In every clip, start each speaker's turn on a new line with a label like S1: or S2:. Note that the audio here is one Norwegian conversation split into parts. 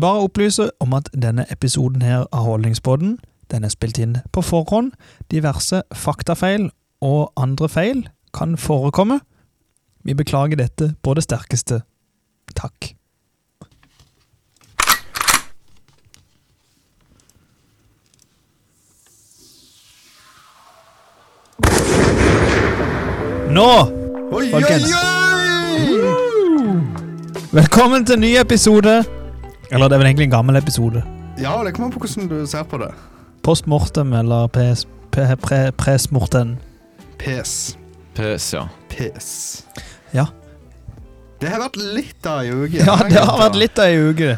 S1: bare opplyse om at denne episoden her av Holdningspodden den er spilt inn på forhånd. Diverse faktafeil og andre feil kan forekomme. Vi beklager dette på det sterkeste. Takk. Nå,
S2: Oi,
S1: Folkens.
S2: oi, oi!
S1: velkommen til en ny episode. Eller det er vel egentlig en gammel episode.
S2: Ja, det kommer an på hvordan du ser på det.
S1: Post mortem eller pes, pe, pre, pres mortem.
S2: Pes.
S3: Pøs, ja.
S2: Pes.
S1: Ja.
S2: Det har vært litt av ei uke.
S1: Ja, det har vært litt av ei uke.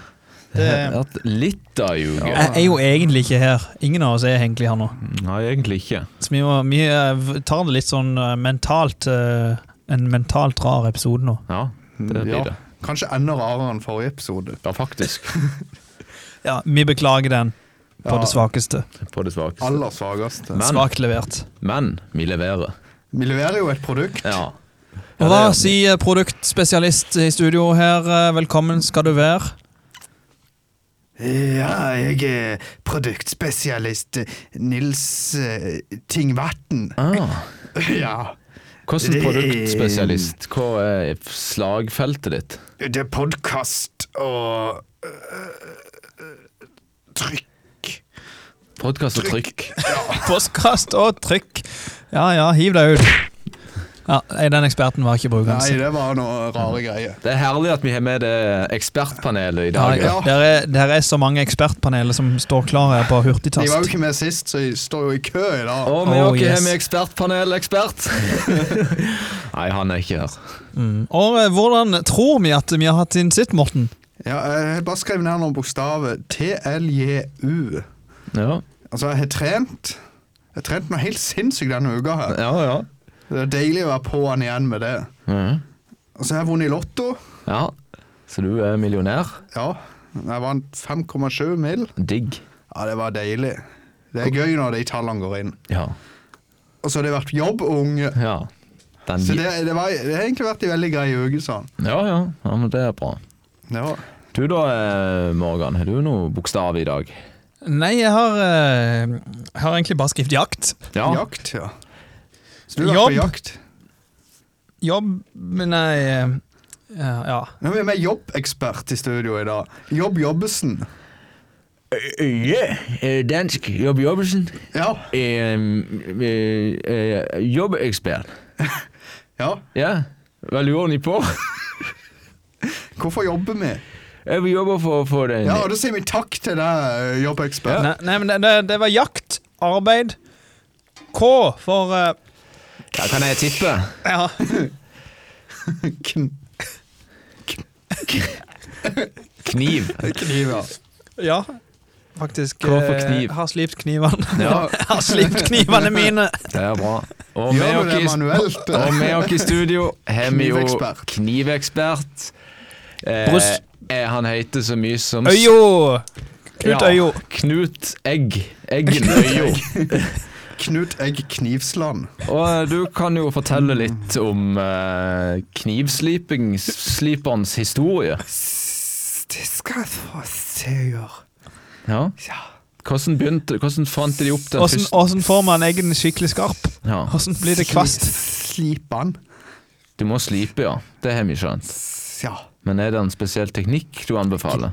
S3: Det har
S2: Det-
S3: vært litt av juge.
S1: Jeg er jo egentlig ikke her. Ingen av oss er egentlig her nå.
S3: Nei, egentlig ikke.
S1: Så vi, må, vi eh, v- tar det litt sånn eh, mentalt eh, En mentalt rar episode nå.
S3: Ja, det blir
S2: Mm, Ja.
S3: det.
S2: Kanskje enda rarere enn forrige episode.
S3: Ja, faktisk.
S1: Ja, Vi beklager den på
S2: Ja.
S1: det svakeste.
S3: På det svakeste.
S2: Aller svakeste.
S3: Men-
S1: Svakt levert.
S3: Men vi leverer.
S2: Vi leverer jo et produkt.
S3: Ja.
S1: Og hva
S3: det-
S1: sier produktspesialist i studio her? eh, Velkommen skal du være.
S2: Ja, jeg er produktspesialist Nils eh, Tingvatn.
S3: Ah,
S2: Ja.
S3: hvordan
S2: Det-
S3: produktspesialist? Hva er f- slagfeltet ditt?
S2: Det er podkast og eh, øh, trykk.
S3: Podkast og trykk.
S1: Postkast og trykk. Ja ja, hiv deg ut. Ja, nei, Den eksperten var ikke
S2: Nei,
S1: brukende.
S2: det var noe rare greier.
S3: Det er herlig at vi har med det ekspertpanelet i
S1: Ja,
S3: dag.
S1: ja.
S2: Ja.
S1: Der, er, der er så mange ekspertpaneler som står klare på
S2: De var jo
S1: hurtigtast.
S2: ikke med sist, så de står jo i kø i dag.
S3: Og vi
S1: Oh,
S3: har ikke
S1: yes.
S3: med ekspertpanel-ekspert. Nei, han er ikke her.
S1: Mm. Og eh, hvordan tror vi at vi har hatt inn sitt, Morten?
S2: Ja, eh, jeg har bare skrevet ned noen bokstaver. TLJU.
S3: Ja,
S2: Altså, jeg har trent. Jeg har trent noe helt sinnssykt denne uka her.
S3: ja. Ja,
S2: Det er deilig å være på'n igjen med det.
S3: Mhm.
S2: Og så har jeg vunnet i Lotto.
S3: ja. Så du er millionær?
S2: Ja, jeg vant 5,7 mil.
S3: Digg.
S2: Ja, det var deilig. Det er gøy når de tallene går inn.
S3: Ja.
S2: Og så har det vært jobb og unge.
S3: Ja. Den
S2: Så det, det, var, det har egentlig vært en veldig grei uke, sånn.
S3: Ja, ja, ja, men det er bra.
S2: Ja.
S3: Du da, eh, Morgan, har du noe bokstav i dag?
S1: Nei, jeg har, eh, jeg har egentlig bare skrevet jakt.
S2: Jakt, ja. Så du har vært
S1: Jobb.
S2: på jakt?
S1: Jobb men Nei eh, ja, ja.
S2: Nå er vi med jobbekspert i studio i dag. Jobb Jobbesen.
S3: Eh, Dansk Jobb Jobbesen.
S2: Ja,
S3: Eh, mm, Jobbekspert.
S2: ja.
S3: Ja, hva lurer ni på?
S2: Hvorfor jobber vi?
S3: Vi jobber for å få den
S2: Ja, og Da sier vi takk til deg, eh, jobbekspert.
S1: Nei, nei, men det, det, det var jakt, arbeid, K for eh,
S3: Ja, Kan jeg tippe?
S1: Ja.
S2: Kn
S3: Kniv.
S2: kniver.
S1: ja. Faktisk.
S3: K for
S1: eh,
S3: kniv.
S1: Har slipt knivene.
S2: Ja.
S1: Jeg har slipt knivene mine.
S3: Det er bra. Og med
S2: Gjør du det
S3: oss i-
S2: manuelt?
S3: og med oss i studio har vi jo
S2: Knivekspert.
S3: knivekspert. Eh,
S1: Bruce.
S3: eh, han heter så mye som
S1: Øyo! Knut Øyo.
S3: Knut Egg. Eggen Øyo.
S2: Knut Egg Knivsland.
S3: Og eh, du kan jo fortelle litt om eh, knivsliperens historie.
S2: Det skal jeg få se gjøre.
S3: Ja.
S2: Ja.
S3: Hvordan begynte Hvordan fant de opp den
S1: Åssen
S3: første
S1: åssen får man eggen skikkelig skarp?
S3: ja.
S1: Åssen blir det kvast?
S2: Slipan.
S3: Du må slipe, ja. Det har vi skjønt.
S2: Ja.
S3: Men er det en spesiell teknikk du anbefaler?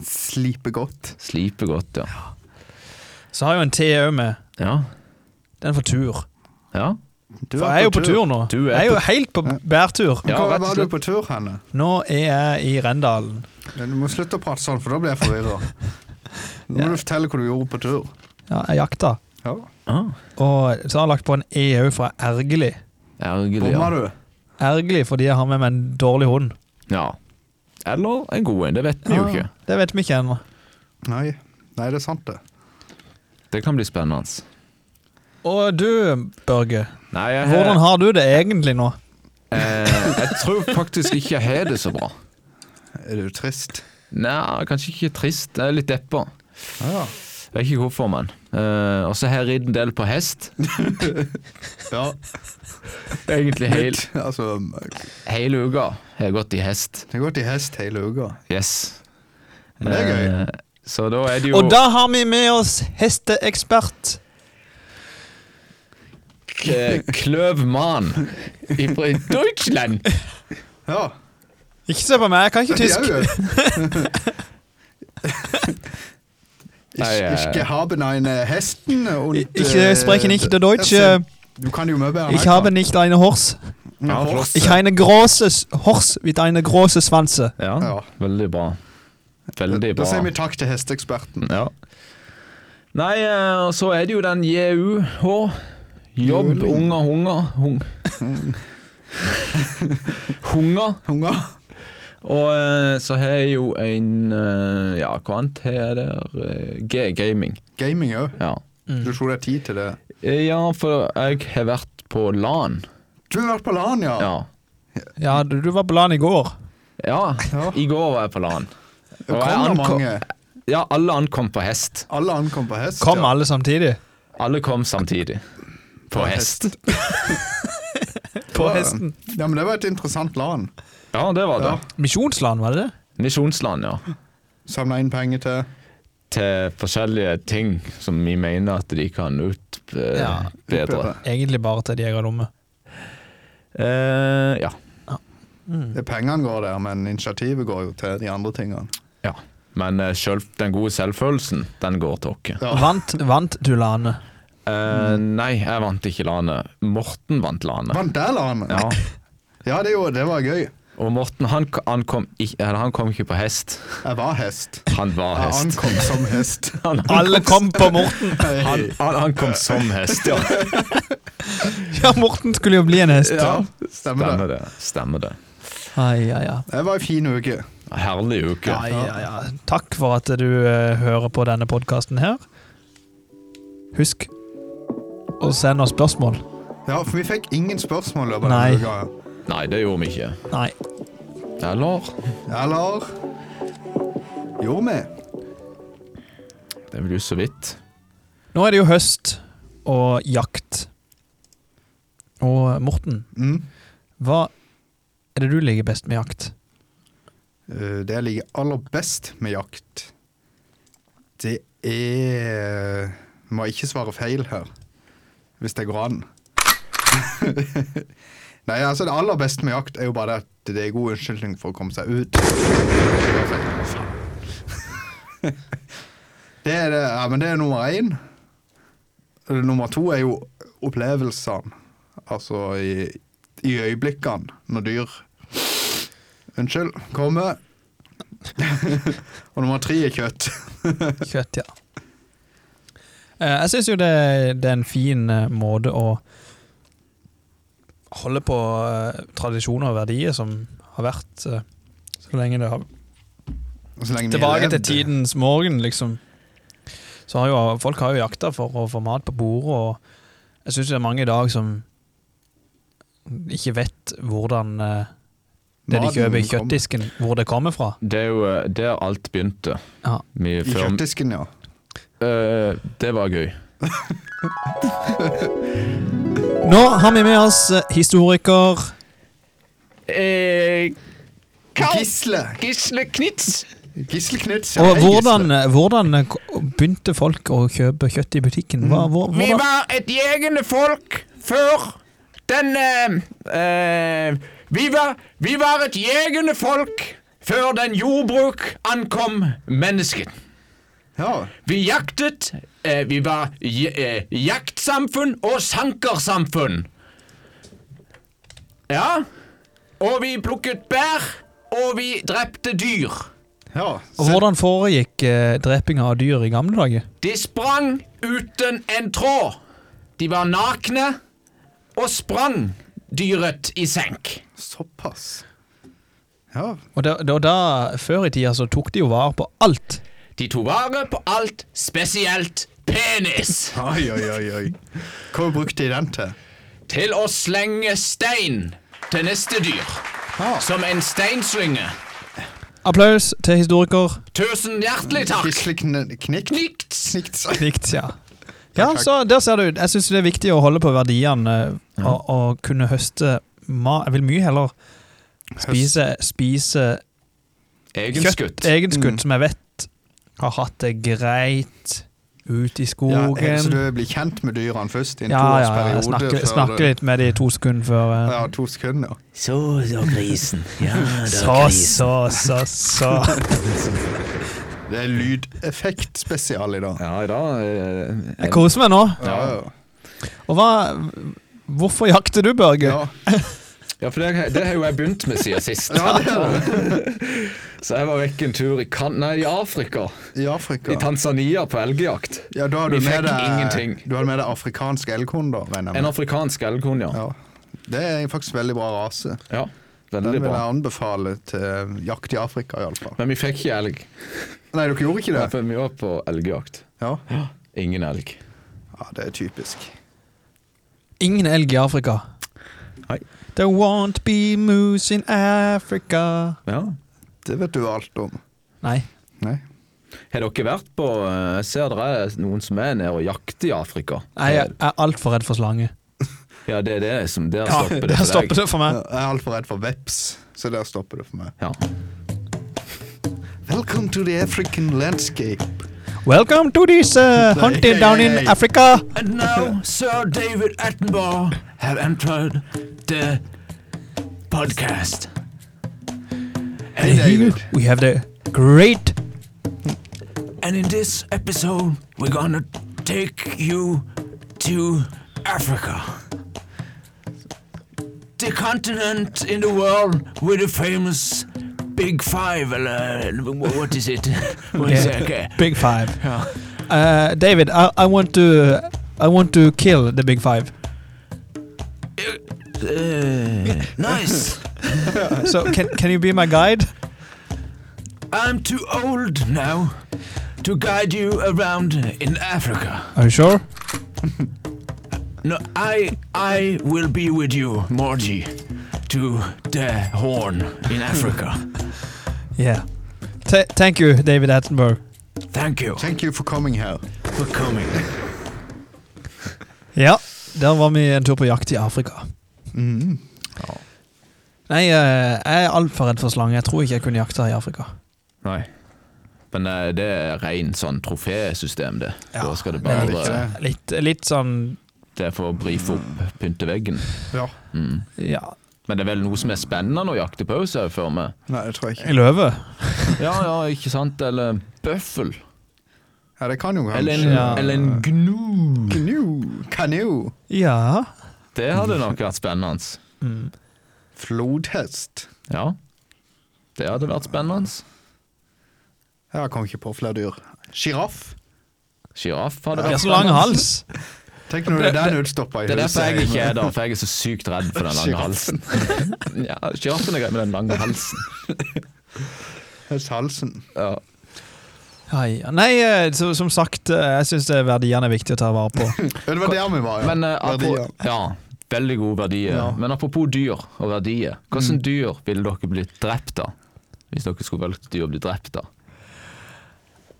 S2: Slipe godt.
S3: Slipe godt, ja.
S1: Så har jeg jo en T òg med.
S3: Ja.
S1: Den for tur.
S3: ja.
S2: Du
S1: For jeg er jo på tur nå.
S3: Du er
S1: Jeg er
S3: på-
S1: jo helt på bærtur.
S2: Hvor
S3: Ja, rett og
S2: var du
S3: slett.
S2: på tur henne?
S1: Nå er jeg i Rendalen.
S2: Du må slutte å prate sånn, for da blir jeg forvirra. Nå må du fortelle hva du gjorde på tur.
S1: Ja, jeg jakta.
S2: Ja.
S3: Ah,
S1: Og så har jeg lagt på en E òg fra ergerlig.
S3: ergerlig,
S2: Bomma
S3: ja.
S2: du?
S1: Ergerlig fordi jeg har med meg en dårlig hund.
S3: ja. Eller en god en. Det vet vi jo
S1: Ja,
S3: ikke.
S1: Det vet vi ikke ennå.
S2: Nei. Nei, det er sant, det.
S3: Det kan bli spennende.
S1: Og du, Børge.
S3: Nei, jeg,
S1: Hvordan har du det egentlig nå?
S3: eh, jeg tror faktisk ikke jeg har det så bra.
S2: Er du trist?
S3: Nei, kanskje ikke trist. Jeg er litt deppa.
S2: Ja.
S3: Jeg vet ikke hvorfor, men. Eh, og så har jeg ridd en del på hest.
S2: ja.
S3: Egentlig hel,
S2: Altså,
S3: um, hele uka har jeg gått i hest.
S2: det har gått i hest hele uka.
S3: Yes.
S2: Men det er gøy.
S3: Eh, Så da er det jo
S1: Og da har vi med oss hesteekspert.
S3: k- Kløvmann fra Deutschland.
S2: Ja.
S1: Ikke se på meg, jeg kan ikke
S2: Jeg
S1: tysk.
S2: er jo
S3: Nei,
S2: Ich-
S3: eh,
S2: Ich habe eine Hesten eh, und
S1: Ich spreche nicht der Deutsche.
S2: Du kan jo mye bedre enn
S1: Ich habe nicht eine Hors.
S2: kan.
S3: Ja, flott.
S1: Ich eine große S- Hors mit eine große Schwanze.
S3: Ja,
S2: Ja.
S3: veldig bra. Veldig
S2: Da sier
S3: bra.
S2: vi takk til hesteeksperten.
S3: Ja. Nei, eh, og så er det jo den JUH. Jobb, unger, hunger hung. Hunger.
S2: Unger.
S3: Og eh, så har jeg jo en eh, Ja, hva annet har jeg der? Eh, G-gaming.
S2: Gaming òg.
S3: Ja.
S1: Mm.
S2: Du tror det er tid til det.
S3: Eh, ja, for jeg har vært på LAN.
S2: Du har vært på LAN, ja.
S3: Ja.
S1: Ja, du, du var på LAN i går.
S3: ja.
S2: Ja.
S3: I går var jeg på LAN.
S2: Det
S3: Og jeg
S2: kom da
S3: ankom-
S2: mange.
S3: Ja, alle ankom på hest.
S2: Alle ankom på hest.
S1: Kom
S2: ja.
S1: alle samtidig.
S3: Alle kom samtidig. På hest.
S1: På
S2: Ja.
S1: hesten.
S2: Ja, men det var et interessant LAN.
S3: Ja, det var det.
S2: Ja.
S1: Misjonsland, var det det?
S3: Misjonsland, ja.
S2: Samla inn penger til
S3: til forskjellige ting som vi mener at de kan utbedre.
S1: Ja,
S3: bedre.
S1: Egentlig bare til de jeg har dumme.
S3: Eh, ja.
S2: Det er Pengene går der, men initiativet går jo til de andre tingene.
S3: ja. Men eh, selv, den gode selvfølelsen, den går til oss.
S2: Ja.
S1: Vant, vant du LAN-et?
S3: Eh, nei, jeg vant ikke landet. Morten vant landet.
S2: Vant der LAN?
S3: Ja.
S2: Ja, det, gjorde- det var gøy.
S3: Og Morten han, k- han, kom ikke, eller han kom ikke på hest.
S2: Jeg var hest.
S3: Han var
S2: Jeg
S3: hest.
S2: ankom som hest.
S3: Han, han,
S1: Alle kom på Morten.
S3: han, han, han kom som hest, ja.
S1: Ja, Morten skulle jo bli en hest.
S2: Ja, stemmer
S3: Stemmer
S2: det.
S3: det. Stemmer det.
S1: Ai, ja, ja.
S2: Det var en fin uke.
S3: Herlig uke.
S1: Ai, ja, ja. Takk for at du eh, hører på denne podkasten her. Husk å sende oss spørsmål.
S2: Ja, for vi fikk ingen spørsmål i løpet
S1: Nei.
S2: av denne uka.
S3: Nei, det gjorde vi ikke.
S1: Nei.
S3: Eller
S2: Eller Gjorde vi?
S3: Det blir jo så vidt.
S1: Nå er det jo høst og jakt. Og eh, Morten,
S2: Mm.
S1: hva er det du liker best med jakt?
S2: Eh, Det jeg liker aller best med jakt, det er Må ikke svare feil her, hvis det går an. Nei, altså Det aller beste med jakt er jo bare det at det er god unnskyldning for å komme seg ut. Det er det, ja, men det er nummer én. Eh, Nummer to er jo opplevelsene. Altså i, i øyeblikkene når dyr Unnskyld. Komme. og nummer tre er kjøtt.
S1: Kjøtt, ja. Eh, Jeg syns jo det, det er en fin eh, måte å holde på eh, tradisjoner og verdier som har vært eh, så lenge det har
S2: Og så lenge vi
S1: Tilbake
S2: levde.
S1: til tidens morgen, liksom. Så har jo, folk har jo jakta for å få mat på bordet, og jeg syns det er mange i dag som ikke vet hvordan eh, det de
S2: Maten
S1: kjøper i
S2: kom.
S1: kjøttdisken, hvor det kommer fra.
S3: Det er jo eh, der alt begynte.
S1: Ja.
S3: Vi
S2: I
S3: før-
S2: kjøttdisken, ja.
S3: Eh, det var gøy.
S1: Nå har vi med oss eh, historiker
S3: Eh,
S2: Gisle.
S3: Gisle Knitz.
S2: Gisle Knutz. ja,
S1: Og
S2: hei,
S1: hvordan,
S2: Gisle.
S1: hvordan begynte folk å kjøpe kjøtt i butikken? Hva,
S2: Mm.
S1: hvor,
S3: Vi
S1: hvordan?
S3: var et jegende folk før den eh, eh, vi, var, vi var et jegende folk før den jordbruk ankom mennesket.
S2: Ja.
S3: Vi jaktet. Eh, vi var je, eh, jaktsamfunn og sankersamfunn. Ja. Og vi plukket bær, og vi drepte dyr.
S2: ja.
S1: Og hvordan foregikk eh, drepinga av dyr i gamle dager?
S3: De sprang uten en tråd. De var nakne og sprang dyret i senk.
S2: Så, såpass. Ja.
S1: Og da, da, da, Før i tida så tok de jo vare på alt.
S3: De tok vare på alt, spesielt penis.
S2: Oi, oi, oi. oi. Hva brukte de den til?
S3: Til å slenge stein til neste dyr.
S2: Ja.
S3: Som en steinslynge.
S1: Applaus til historiker.
S3: Tusen hjertelig takk.
S2: Gisle Kn- Knikt.
S3: Nikt.
S2: Knikt.
S1: Likt, ja. Ja, så der ser du. Jeg syns det er viktig å holde på verdiene eh, og, og kunne høste mat. Jeg vil mye heller spise, spise kjøtt
S3: Egenskutt.
S2: Mm.
S1: egenskutt som jeg vet har hatt det greit ute i
S2: Ja,
S1: skogen.
S2: helt så
S1: Ja,
S2: du blir kjent med dyrene først i en
S1: ja, ja, jeg
S2: toårsperiode.
S1: snakker,
S2: før
S1: snakker
S2: du-
S1: litt med de to sekunder før. eh.
S2: Ja, to sekunder.
S4: Så, da, grisen. Ja, da,
S1: Så,
S4: grisen.
S1: så, så, så.
S2: Det er lydeffektspesial i dag.
S3: Ja, i dag eh,
S1: Jeg koser meg nå.
S2: Ja, ja.
S1: Og hva Hvorfor jakter du, Børge?
S2: ja.
S3: Ja, for det, det har jo jeg begynt med siden sist. Så jeg var vekk en tur i, kan nei, i Afrika.
S2: I Afrika.
S3: I Tanzania på elgjakt.
S2: Ja, da har
S3: Vi
S2: du med
S3: fikk
S2: deg,
S3: ingenting.
S2: Du hadde med deg afrikansk elghund, da, regner jeg
S3: En
S2: med.
S3: afrikansk elghund, ja.
S2: Ja. Det er faktisk veldig bra rase.
S3: ja.
S2: Den
S3: Veldig
S2: vil
S3: bra.
S2: jeg anbefale til jakt i Afrika, iallfall.
S3: Men vi fikk ikke elg.
S2: Nei, dere gjorde ikke det?
S3: For vi var på elgjakt.
S2: Ja.
S3: Ingen elg.
S2: ja, det er typisk.
S1: Ingen elg i Afrika.
S3: Nei.
S1: There won't be moose in Africa.
S3: Ja.
S2: Det vet du alt om.
S1: Nei.
S2: Nei.
S3: Har dere vært på eh, Jeg ser det er noen som er nede og jakter i Afrika.
S1: Nei, jeg er altfor redd for slange.
S3: Ja, det er det som Der
S1: Ja,
S3: stopper det
S1: der
S3: for deg.
S1: stopper det for meg.
S2: Jeg er altfor redd for veps, så der stopper det for meg.
S3: Ja.
S2: Welcome to the African landscape.
S1: Welcome to this uh, hunting down in Africa.
S3: And now Sir David Attenborough have entered the podcast.
S2: Hey, David.
S1: We have the great
S3: And in this episode, we're gonna take you to Africa. The continent in the world with the famous Big Five, eller wh- what is it? What is it? Okay.
S1: big five. Uh, David, I, I want to I want to kill the big five.
S3: Uh, nice.
S1: So can can you be my guide?
S3: I'm too old now to guide you around in Africa.
S1: Are you sure?
S3: No, I I will be with you, Morgie, to the Horn in Africa.
S1: Yeah. T thank you, David Attenborough.
S3: Thank you.
S2: Thank you for coming here.
S3: for coming.
S1: Ja, der var vi en tur på jakt i Afrika.
S2: Mhm.
S1: Nei, eh, jeg er altfor redd for slange. Jeg tror ikke jeg kunne jakta i Afrika.
S3: Nei. Men eh, det er rein sånn trofésystem, det.
S1: Ja,
S3: da skal det
S1: det er
S3: bare
S1: litt
S3: Det,
S2: det.
S1: Litt, litt sånn
S3: er for å brife opp pynteveggen.
S2: Ja.
S3: Mm.
S1: ja,
S3: Men det er vel noe som er spennende å jakte på, ser jeg for meg.
S2: Nei, det tror jeg ikke.
S1: en løve.
S3: Ja, ja, ikke sant? Eller bøffel.
S2: Ja, det kan jo kanskje.
S3: Eller en,
S1: Ja.
S3: eller en gnu.
S2: Kanu. Kanu.
S1: Ja.
S3: Det hadde nok vært spennende.
S1: Mm.
S2: Flodhest.
S3: Ja. Det hadde vært spennende.
S2: Jeg kom ikke på flere dyr. Sjiraff.
S3: Sjiraff hadde
S1: De har
S3: vært
S1: så lang hals.
S2: Tenk når det er den utstoppa i
S3: Det er derfor jeg
S2: huset.
S3: ikke er der, for jeg er så sykt redd for den lange halsen. Ja, Sjiraffen er grei med den lange halsen.
S2: Hos halsen.
S3: Ja.
S1: Ja, ja. Nei, eh, så, som sagt, eh, jeg syns verdiene er viktig å ta vare på.
S2: Ja, det var der vi var, ja.
S3: Men, eh,
S2: Verdier.
S3: apro- ja, veldig gode verdier.
S2: Ja.
S3: Men apropos dyr og verdier. Hvilke dyr ville dere blitt drept av? Hvis dere skulle valgt dyr å bli drept av?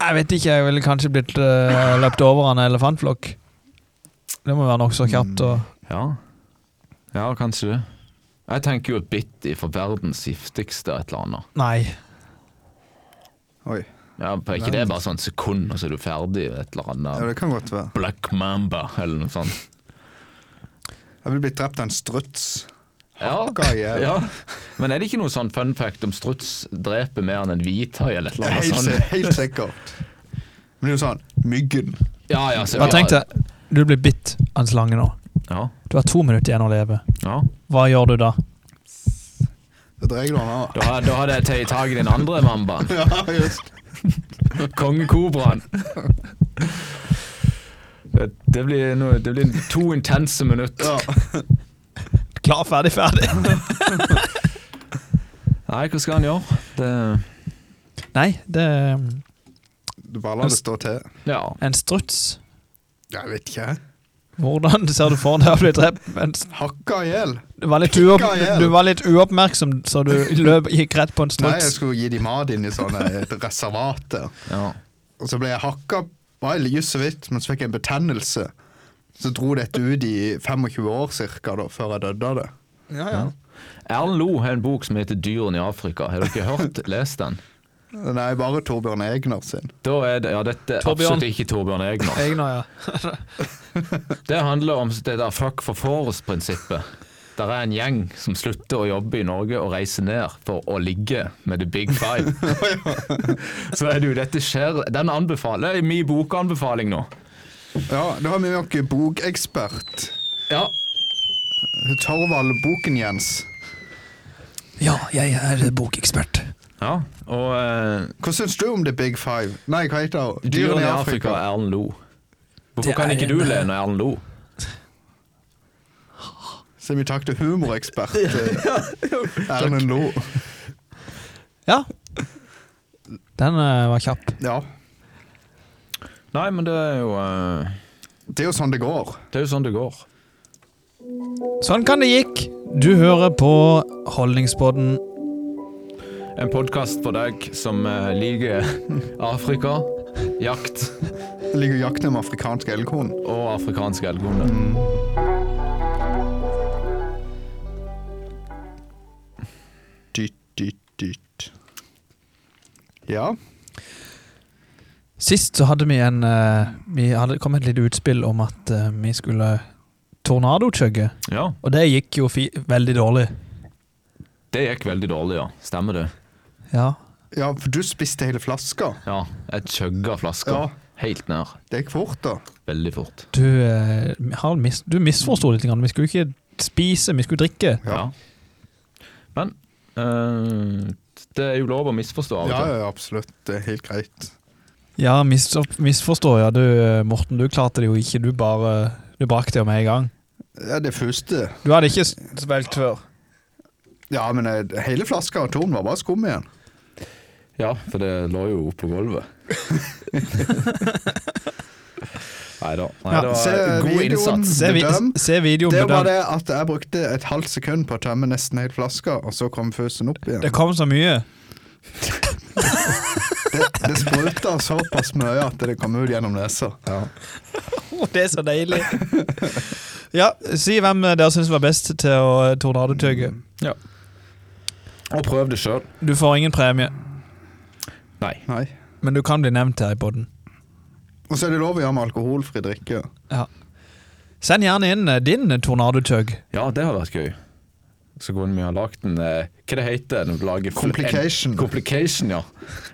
S1: Jeg vet ikke, jeg ville kanskje blitt eh, løpt over av en elefantflokk. Det må være nokså kjapt. Og,
S3: Ja. ja, kanskje det. Jeg tenker jo et bitt ifra verdens giftigste et eller annet.
S1: nei.
S2: Oi.
S3: Ja, for ikke det er bare sånn sekund, og så er du ferdig et eller
S2: Ja,
S3: annet.
S2: det kan godt være.
S3: Black Mamba eller noe sånt.
S2: Jeg vil bli drept av en struts.
S3: Ja.
S2: Hva er
S3: ja. Men er det ikke noe sånn fun fact om struts dreper mer enn en hvithai eller et eller annet
S2: Helt,
S3: sånt?
S2: si- helt sikkert. Men det er jo sånn Myggen.
S3: Ja, ja, så-
S1: Bare tenk deg, du blir bitt av en slange nå.
S3: Ja,
S1: Du har to minutter igjen å leve.
S3: ja.
S1: Hva gjør du da?
S2: Det dreier du han av.
S3: Da, da hadde jeg tatt tak i den andre mambaen.
S2: Ja, just.
S3: Kongekobraen. Det, det, blir noe, det blir to intense minutter.
S2: Ja.
S1: Klar, ferdig, ferdig.
S3: Nei, hva skal han gjøre? Det,
S1: Nei, det er um,
S2: Du bare lar det stå til.
S3: ja.
S1: en struts.
S2: Jeg vet ikke.
S1: Hvordan ser du for deg å bli drept? En s-
S2: Hakka i hjel.
S1: Du var litt,
S2: Pikka
S1: uopp,
S2: ihjel.
S1: du var litt uoppmerksom, så du løp, gikk rett på en
S2: Nei, jeg
S1: struts.
S2: skulle gi de mat inn i sånne et reservat. der.
S3: ja.
S2: Og så ble jeg hakka var jeg just så vidt, men så fikk jeg en betennelse. Så dro dette ut i 25 år cirka, da, før jeg døde av det.
S1: Ja,
S3: Erlend Lo har en bok som heter 'Dyrene i Afrika'. Har dere hørt, lest den?
S2: Nei, bare Torbjørn Egner sin.
S3: Da er det, ja, dette er
S1: Torbjørn.
S3: absolutt ikke Torbjørn Egner.
S1: Egner, ja.
S3: Det handler om det der fuck for forest-prinsippet. Der er en gjeng som slutter å jobbe i Norge og reiser ned for å ligge med the big five. Så er det jo dette skjer Den anbefaler er min bokanbefaling nå.
S2: Ja, da har vi noen bokekspert.
S3: Ja,
S2: Torvald Boken-Jens.
S1: Ja, jeg er bokekspert.
S3: ja. Og eh,
S2: Hva syns du om The Big Five? Nei, hva heter det?
S3: Dyrene i Afrika er Erlend Lo. Hvorfor
S1: Det
S3: kan
S1: er
S3: ikke du
S1: en,
S3: le når Erlend Lo?
S2: Så vi takk til humorekspert eh, Erlend Lo.
S1: Ja. Den eh, var kjapp.
S2: Ja.
S3: Nei, men det er jo eh,
S2: Det er jo sånn det går.
S3: Det er jo sånn det går.
S1: Sånn kan det gikk. Du hører på Holdningspodden.
S3: En podkast for deg som eh, liker Afrika, jakt
S2: Det ligger jakten om afrikansk elghorn.
S3: og afrikansk elghunde.
S2: Dytt, dytt, dytt. Ja.
S1: Sist så hadde vi en eh, Vi hadde kom et lite utspill om at eh, vi skulle tornadochugge,
S3: Ja,
S1: og det gikk jo fi veldig dårlig.
S3: det gikk veldig dårlig, ja. Stemmer det.
S1: Ja.
S2: ja, for du spiste hele flaska.
S3: Ja, Jeg chugga flaska
S2: Ja.
S3: helt ned.
S2: Det gikk fort, da.
S3: Veldig fort.
S1: Du, eh, har mis du misforsto litt. Grann. Vi skulle ikke spise, vi skulle drikke.
S3: Ja.
S2: Ja.
S3: Men eh, det er jo lov å misforstå av og
S2: Ja,
S3: til.
S2: ja, absolutt. Det er helt greit.
S1: Ja, mis misforstår, ja. Du, eh, Morten, du klarte det jo ikke. Du bare Du brakk det jo med en gang.
S2: Ja, det første
S1: Du hadde ikke svelget før.
S2: Ja, men eh, hele flaska av Torn var bare skum igjen.
S3: Ja, for det lå jo oppå gulvet. Neida.
S1: Ja,
S3: Neida,
S2: se
S3: god
S2: videoen.
S3: innsats.
S1: Se, vi
S2: Bedøm.
S1: se videoen.
S2: Det
S1: bedøm.
S2: var det at jeg brukte et halvt sekund på å tømme nesten hele flaska, og så kom fusen opp igjen.
S1: det kom så mye.
S2: Det, det spruta såpass mye at det kom ut gjennom nesa. Ja.
S1: Å, det er så deilig. ja, si hvem eh, dere syns var best til å eh, tornadotøge.
S3: Og prøv det sjøl.
S1: Du får ingen premie,
S3: Nei.
S2: Nei.
S1: men du kan bli nevnt her i poden.
S2: Og så er det lov å gjøre med alkoholfri drikke.
S1: Send gjerne inn eh, din tornadotøg.
S3: Ja, det har vært gøy. Så kunne vi ha lagd en eh, Hva det heter det? Lager fl-
S2: Complication.
S3: En, complication, ja.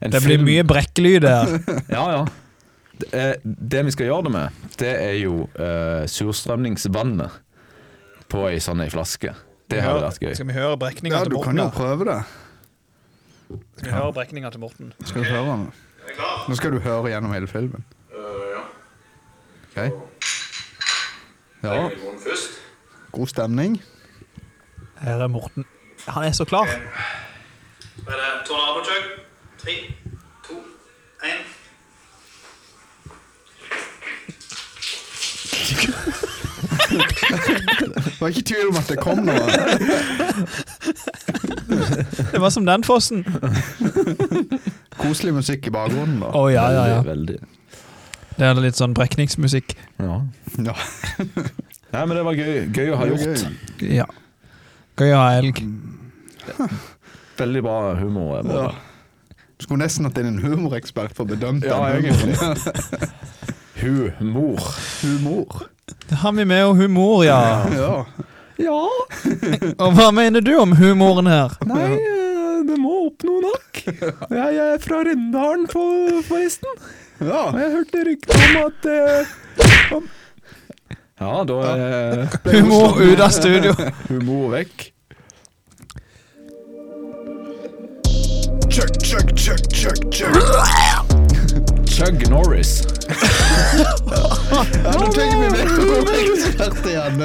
S3: En
S1: Det blir
S3: film.
S1: mye brekkelyd her.
S3: Ja, ja. Det, eh, det vi skal gjøre det med, det er jo eh, surstrømningsvannet på ei sånn ei flaske. Det hadde vært gøy.
S1: Skal vi høre brekninga
S2: Ja,
S1: til
S2: du kan
S1: Morten?
S2: jo
S1: da?
S2: prøve det.
S1: Skal vi høre brekninga til Morten?
S2: Skal du høre den? Nå skal du høre gjennom hele filmen. Ok. Ja, god stemning.
S1: Her er Morten. Han er så klar.
S5: Da er det tornadokjøkk. Tre, to, én.
S2: Det var ikke tvil om at det kom noe.
S1: Det var som den fossen.
S2: Koselig musikk i bakgrunnen, da.
S1: Å ja, ja, ja.
S3: Veldig, veldig.
S1: Det er litt sånn brekningsmusikk.
S3: Ja.
S2: Ja,
S3: Nei, men det var gøy, gøy å ha
S2: det var
S3: gjort.
S2: gøy.
S1: Ja. Gøy å ha elg.
S3: Veldig bra humor. eh, Bård.
S2: Ja. Skulle nesten hatt inn en humorekspert for å bedømme
S3: Ja,
S2: den humoren.
S3: Humor.
S2: Humor.
S1: Det har vi med, og humor, ja.
S2: Ja.
S3: Ja,
S1: Og hva mener du om humoren her?
S3: nei, eh, det må opp noe nok. Jeg er fra Rendalen, forresten.
S2: ja.
S3: jeg hørte rykter om at eh, Ja, da er
S1: Humor ut av studio.
S3: humor vekk.
S2: Chuck, chuck, chuck, chuck, chuck.
S3: Chug Norris.
S2: Ja, nå tenker vi vekk på humorekspert igjen.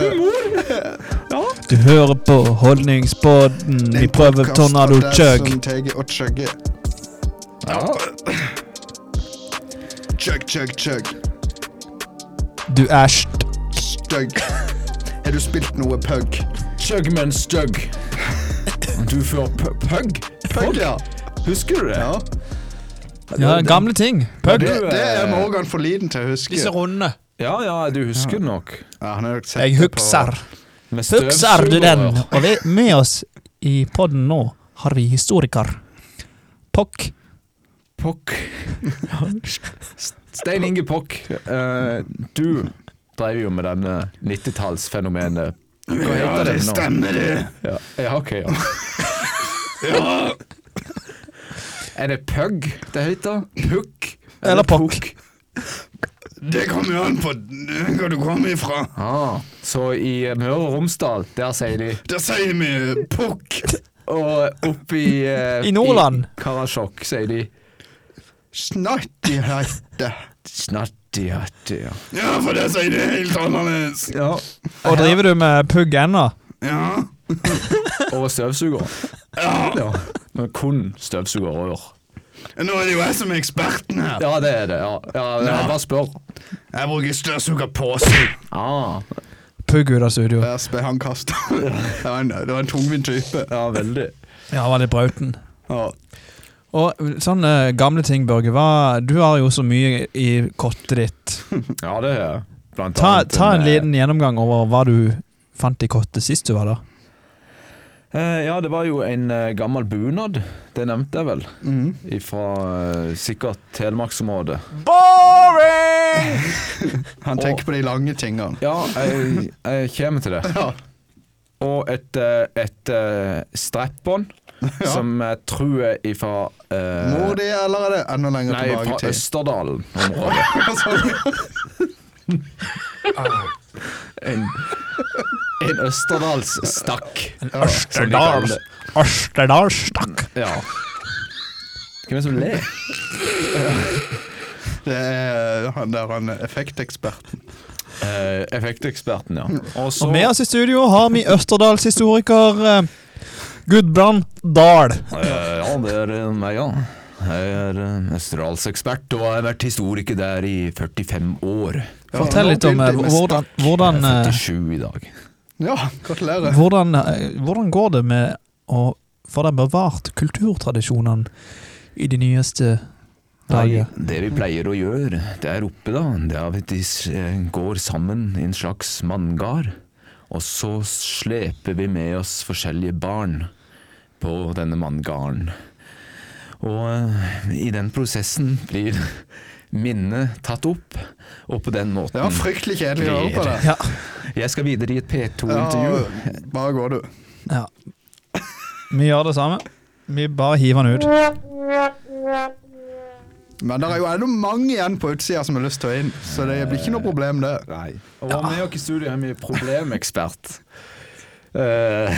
S1: Du hører på Holdningspodden. Vi prøver Tornado Chug.
S2: Chug. Og chugge.
S3: Ja.
S2: Chug, chug, chug.
S1: Du æsj.
S2: Stug. Har du spilt noe pug?
S3: Chug, men stug. Du får pu- pug?
S2: Pug, ja.
S3: Husker du det?
S2: ja.
S1: Ja, gamle ting. Pug.
S2: Det,
S3: Du, eh,
S2: det er Morgan for liten til å huske.
S1: Disse runde.
S3: Ja, ja, du husker det nok.
S2: Ja, han har nok sett
S1: Jeg
S2: det på-
S1: hukser.
S3: Med
S1: Hukser du den?
S3: støvsugerrør.
S1: Og vi med oss i podden nå har vi historiker. Pokk
S3: Pokk Stein Inge Pokk, eh, du drev jo med denne 90-tallsfenomenet. Hva
S2: Ja, det stemmer, det.
S3: Ja, ja ok, ja. Er det pugg det heter? Pukk?
S1: Eller pokk.
S2: Det kommer jo an på hva du kommer ifra.
S3: Ah, så i Møre og Romsdal, der sier de
S2: Der sier vi pukk.
S3: Og oppe i eh,
S1: I Nordland.
S3: I Karasjok sier de
S2: Snatti heite.
S3: Snatti, hatti, ja.
S2: Ja, for det sier det helt annerledes.
S3: ja.
S1: Og driver du med pugg ennå?
S2: Ja.
S3: Og støvsuger.
S2: ja.
S3: Ja. Men kun støvsugerrør.
S2: Nå er det jo jeg som er eksperten her.
S3: Ja, det er det. ja. ja jeg bare spør.
S2: Jeg bruker støvsugerpose.
S3: Ah,
S1: Pugg ut av studio.
S2: Bæsj ble han kasta. Det var en, det var en tungvint type.
S3: ja, veldig.
S1: Ja, var det brauten?
S2: Ja.
S1: Og sånne gamle ting, Børge. Hva, du har jo så mye i kottet ditt.
S3: Ja, det er blant
S1: Ta,
S3: annet
S1: ta en
S3: eh,
S1: liten gjennomgang over hva du fant i kottet sist du var der.
S3: eh, Ja, det var jo en eh, gammel bunad. Det nevnte jeg vel.
S2: Mm.
S3: Fra sikkert Telemarksområdet.
S2: Han tenker på de lange tingene.
S3: Ja, jeg, jeg kommer til det.
S2: Ja.
S3: Og et, eh, et eh, strap-on som jeg tror er ifra eh,
S2: Mor di, eller er det enda lenger
S3: Nei, fra
S2: tilbake til?
S3: Østerdalen. området.
S2: Sånn.
S3: En, en Østerdals stakk.
S1: Østerdals. Østerdals, takk.
S3: Ja. Hvem er det som ler?
S2: Det er han der han effekteksperten.
S3: Eh, effekteksperten, ja. Og så
S1: Og med oss i studio har vi Østerdals historiker eh, Gudbrand Dahl.
S3: Eh, Ja, det er eh, meg, ja. Jeg er eh, Østerdalsekspert og har vært historiker der i 45 år.
S2: Ja,
S1: Fortell
S2: nå
S1: litt om eh,
S2: begynte jeg med
S1: hvordan, hvordan,
S3: Jeg er
S1: eh,
S3: 47 i dag.
S2: Ja, gratulerer.
S1: hvordan, eh, hvordan går det med å få deg bevart kulturtradisjonene i de nyeste
S3: Nei,
S1: dager?
S3: det vi pleier å gjøre der oppe, da, det er at vi s- eh, går sammen i en slags manngard. Og så sleper vi med oss forskjellige barn på denne manngarden. Og eh, i den prosessen blir minnet tatt opp, og på den måten
S2: Det var fryktelig kjedelig å høre på det.
S1: Ja.
S3: Jeg skal videre i et P2-intervju.
S2: Ja, bare går du.
S1: ja. Vi gjør det samme. Vi bare hiver den ut.
S2: Men det er jo ennå mange igjen på utsida som har lyst til å inn, så det blir ikke noe problem, det.
S3: Nei. Og ja. med oss i studio har vi problemekspert. Eh,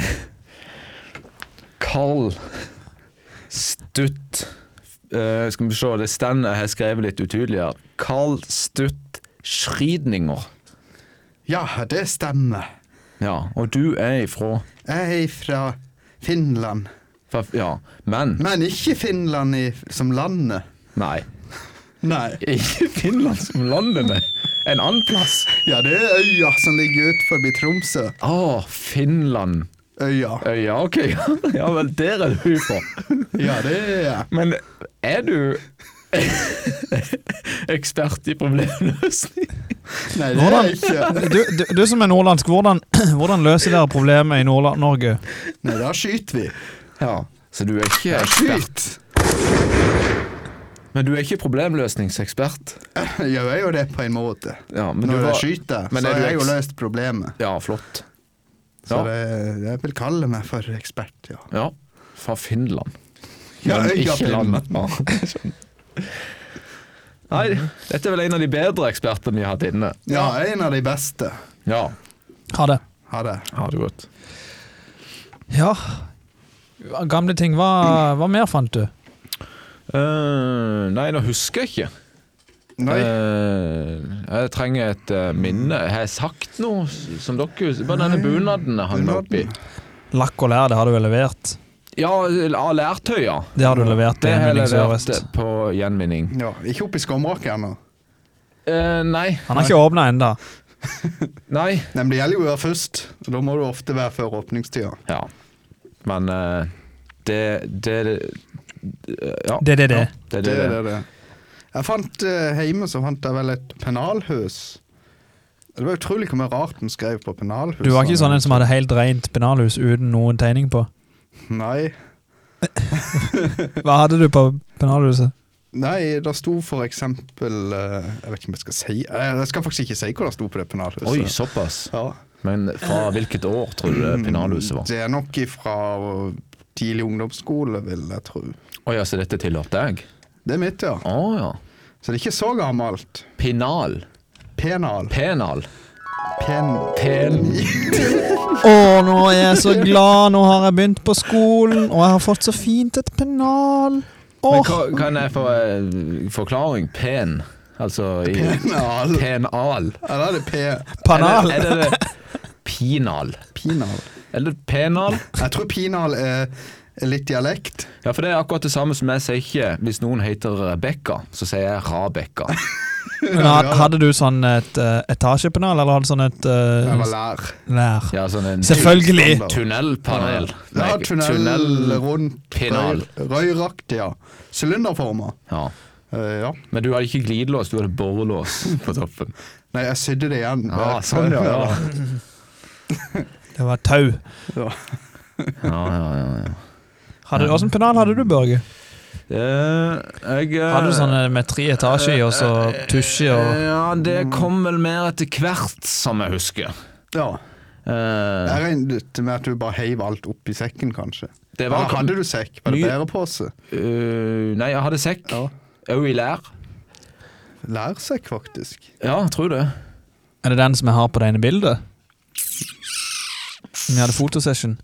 S3: Kall Stutt eh, Skal vi se, det standet jeg har skrevet litt utydelig her. Kall Stutt Schridninger.
S2: Ja, det stemmer.
S3: Ja, og du er ifra
S2: Jeg er fra Finland.
S3: fra- Ja, men
S2: Men ikke Finland i, som landet.
S3: Nei.
S2: Nei.
S3: Ikke Finland som landet, nei. En annen plass.
S2: Ja, det er øya som ligger ut forbi Tromsø.
S3: Å, Finland.
S2: Øya.
S3: Eh, Ja, ok. Ja vel, der er du ifra.
S2: Ja, det er jeg.
S3: Men er du ekspert i problemløsning?
S2: Nei, det er jeg ikke.
S1: Hvordan, du, du, du som er nordlandsk, hvordan, hvordan løser dere problemet i Nordland-Norge?
S2: Nei, da skyter vi.
S3: Ja. Så du er ikke
S2: Da
S3: ekspert?
S2: skyt.
S3: Men du er ikke problemløsningsekspert?
S2: Jeg er jo det på en måte.
S3: Ja, men du
S2: Når
S3: var-
S2: jeg skyter,
S3: men
S2: så
S3: er
S2: har
S3: du
S2: jeg jo
S3: eks-
S2: løst problemet.
S3: Ja, flott.
S2: Så
S3: Ja,
S2: det, jeg vil kalle meg for ekspert, ja.
S3: ja. Fra Finland.
S2: Ja,
S3: Men
S2: øya
S3: ikke
S2: Finland.
S3: landet. Ja. Skjønner. Nei, dette er vel en av de bedre ekspertene vi har hatt inne.
S2: Ja, en av de beste.
S3: Ja.
S1: Ha det.
S2: Ha det.
S3: Ha det godt.
S1: Ja. Gamle ting. Hva, hva mer fant du?
S3: Eh, nei, nå husker jeg ikke.
S2: Nei.
S3: Eh, jeg trenger et eh, minne. Har jeg sagt noe s- som dere husker? Bare denne bunaden jeg hang meg opp i.
S1: Lakk og lær, det har du vel levert?
S3: Ja, av lærtøy, ja.
S1: Det har du levert til
S3: Det har jeg
S1: Henning
S3: levert
S1: Sørøst.
S3: på gjenvinning.
S2: Ja, ikke oppi skumraket ennå.
S3: Eh, nei.
S1: Han har ikke åpna ennå.
S3: Nei.
S2: Nei, men det gjelder jo å være først. og Da må du ofte være før åpningstida.
S3: Ja. Men eh, det Det det- Ja.
S1: Det, det, det.
S3: Det er
S2: Det
S3: det.
S2: er
S3: det.
S2: det. Jeg fant eh, hjemme så fant jeg vel et pennalhus. Det var utrolig hvor mye rart den skrev på pennalhuset.
S1: Du var ikke sånn en som hadde helt rent pennalhus uten noen tegning på?
S2: Nei.
S1: Hva hadde du på pennalhuset?
S2: Nei, det sto for eksempel eh, Jeg vet ikke om jeg skal si eh, Jeg skal faktisk ikke si hva det sto på det pennalhuset.
S3: Oi, såpass.
S2: ja.
S3: Men fra hvilket år tror du det pennalhuset var?
S2: Det er nok ifra tidlig ungdomsskole, vil jeg tro.
S3: Oi, altså dette tilhørte deg?
S2: Det er mitt, ja.
S3: Å ja.
S2: Så det er ikke så gammelt.
S3: Pinal.
S2: Penal.
S3: Penal.
S2: Pen...
S3: Pen...
S1: Å, nå er jeg så glad! Nå har jeg begynt på skolen, og jeg har fått så fint et pennal.
S3: Men
S1: Åh,
S3: hva- kan jeg få eh, forklaring? Pen? Altså i
S2: Penal.
S3: Penal.
S2: Eller er det pe...
S1: pennal!
S3: Eller, eller pinal.
S2: Pinal?
S3: Eller penal.
S2: Jeg tror pinal er er litt dialekt.
S3: Ja, for det er akkurat det samme som jeg sier ikke Hvis noen heter Rebekka, så sier jeg Rabekka.
S1: Men ha- hadde du sånn et eh, etasjepennal, eller hadde du sånn et eh,
S2: Eller lær.
S1: nær?
S3: Ja, sånn en
S1: Selvfølgelig!
S2: Standard.
S3: tunnelpanel.
S2: Ja,
S3: Nei,
S2: tunnel rundt
S3: Penal.
S2: røy- røyraktig, ja. Sylinderforma.
S3: Ja.
S2: Eh, ja.
S3: Men du hadde ikke glidelås, du hadde borrelås på toppen.
S2: Nei, jeg sydde det igjen. Eh,
S3: Ja, sånn, ja. Ja,
S1: Det var tau.
S3: ja, ja, ja.
S1: Hadde, hvordan pennal hadde du, Børge?
S3: Eh, jeg eh,
S1: Hadde du sånn eh, med tre etasjer i, og så tusje og Mm.
S3: Ja, det kom vel mer etter hvert, som jeg husker.
S2: ja.
S3: Eh,
S2: Jeg regnet med at du bare heiv alt opp i sekken, kanskje.
S3: Det var-
S2: Eller hadde du sekk? Var det
S3: Mye-
S2: bærepose?
S3: eh, nei, jeg hadde sekk.
S2: Ja.
S3: Òg i lær.
S2: Lærsekk, faktisk.
S3: Ja, jeg tror det.
S1: Er det den som jeg har på det ene bildet? Når vi hadde fotosession,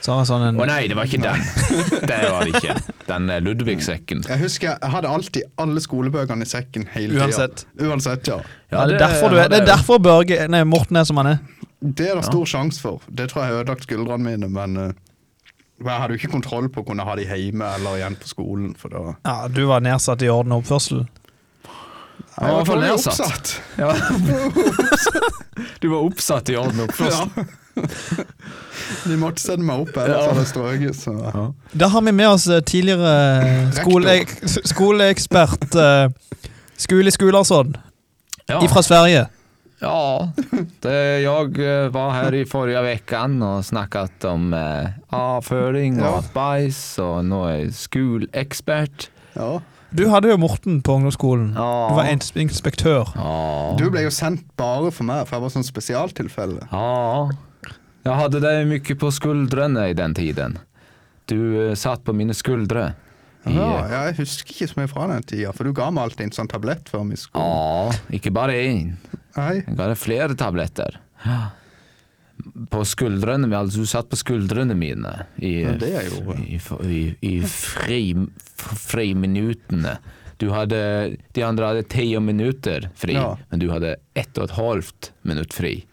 S1: så har jeg sånn en
S3: Å nei, det var ikke den. Det var det ikke. Den eh, Ludvig-sekken.
S2: Jeg husker jeg hadde alltid alle skolebøkene i sekken hele tida.
S1: Uansett.
S2: Uansett, ja.
S1: ja, det, er derfor du er, det er derfor Børge Nei, Morten er som han er.
S2: Det er det stor sjanse for. Det tror jeg har ødelagt skuldrene mine, men eh, jeg hadde jo ikke kontroll på å kunne ha de hjemme eller igjen på skolen. For da
S1: Ja, Du var nedsatt i orden og oppførsel.
S3: var i hvert fall
S2: dårlig
S3: nedsatt. Du var oppsatt i orden oppførsel.
S2: De måtte sende meg opp, ellers
S3: Ja.
S2: hadde jeg strøket. Så.
S1: Da har vi med oss eh, tidligere skole, skoleekspert eh, Skuli Skularsson
S3: Ja.
S1: ifra Sverige.
S3: Ja, det, jag eh, var här i förra veckan och snackat om eh, avföring och
S2: Ja.
S3: bajs och nu är jag skolexpert.
S2: Ja.
S1: Du hadde jo Morten på ungdomsskolen.
S3: Ja.
S1: Du var ins- inspektør.
S3: Ja.
S2: Du ble jo sendt bare for meg, for jeg var sånn spesialtilfelle.
S3: ja. Jag hade dig mycket på skuldrene i den tiden. Du eh, satt på mina skuldre. I,
S2: Ja, jeg husker ikke så mye fra den tida, for du ga meg alltid en sånn tablett før vi skulle
S3: ja, inte bara en.
S2: Nei,
S3: Jag hade flera tabletter. Ja. På skuldrene, alltså du satt på skuldrene mine i,
S2: Ja, det jeg gjorde.
S3: i, i, i fri, f- friminutene. Du hadde, de andre hadde ti minutter fri,
S2: Ja.
S3: men du hadde ett og et halvt minutt fri.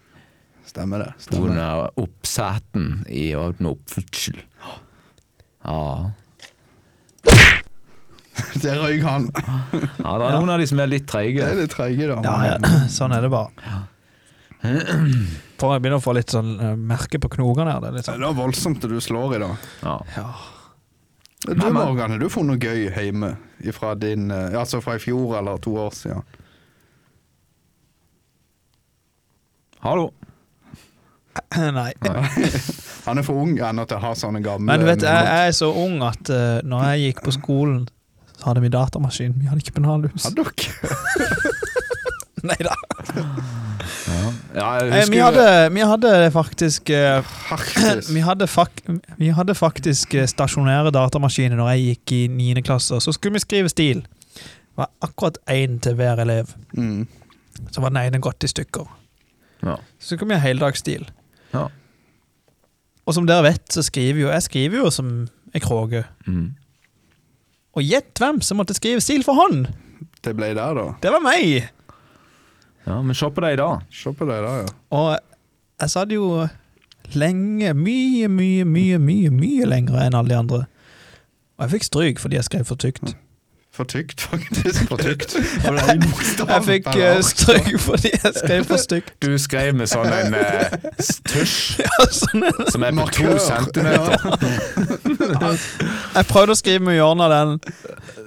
S2: stemmer det.
S3: På grunn
S2: Stemmer.
S3: av oppseten i orden og oppførsel. Ja.
S2: Der røyk han.
S3: ja, det er noen av de som er litt
S2: Det
S3: treige.
S2: er litt treige, da.
S1: Ja, ja. Sånn er det bare. For jeg begynner å få litt sånn eh, merke på knogene her. Det er litt
S2: Det
S1: sånn.
S2: var voldsomt det du slår i, da.
S3: Ja.
S2: Du, Morgan, har du funnet noe gøy hjemme fra din eh, Altså fra i fjor eller to år siden?
S3: Hallo.
S1: Nei.
S2: Han er for ung ennå til å ha sånne gamle
S1: Men du vet, jeg, jeg er så ung at uh, når jeg gikk på skolen, så hadde vi datamaskin. Vi hadde ikke pennalhus.
S2: Hadde dere?
S1: Nei da.
S3: Ja, jeg
S1: Eh,
S3: husker
S1: vi, hadde, vi hadde faktisk eh,
S2: Harktis.
S1: vi hadde, fak vi hadde faktisk eh, stasjonære datamaskiner når jeg gikk i 9. klasse. Så skulle vi skrive stil. Det var akkurat én til hver elev.
S2: Mm.
S1: Så var den ene gått i stykker.
S3: Ja.
S1: Så skulle vi ha heldagsstil.
S3: Ja.
S1: Og som dere vet, så skriver jo jeg skriver jo som ei kråke.
S3: Mm.
S1: Og gjett hvem som måtte skrive stil for hånd!
S2: Det ble der, da.
S1: Det var meg!
S3: ja, men se på deg i dag.
S2: Se på deg der, ja.
S1: Og jeg satt jo lenge, mye, mye, mye, mye mye lengre enn alle de andre. Og jeg fikk stryk fordi jeg skrev for
S2: Mm.
S1: tykt.
S2: For tykt, faktisk. For tykt. jeg
S1: Jeg fikk eh, stryk fordi jeg skrev for stygt.
S3: Du skrev med sånn en eh, tusj
S1: Ja, sånn.
S3: som er på to
S2: Markør.
S3: centimeter.
S1: Jeg prøvde å skrive med hjørnet av den,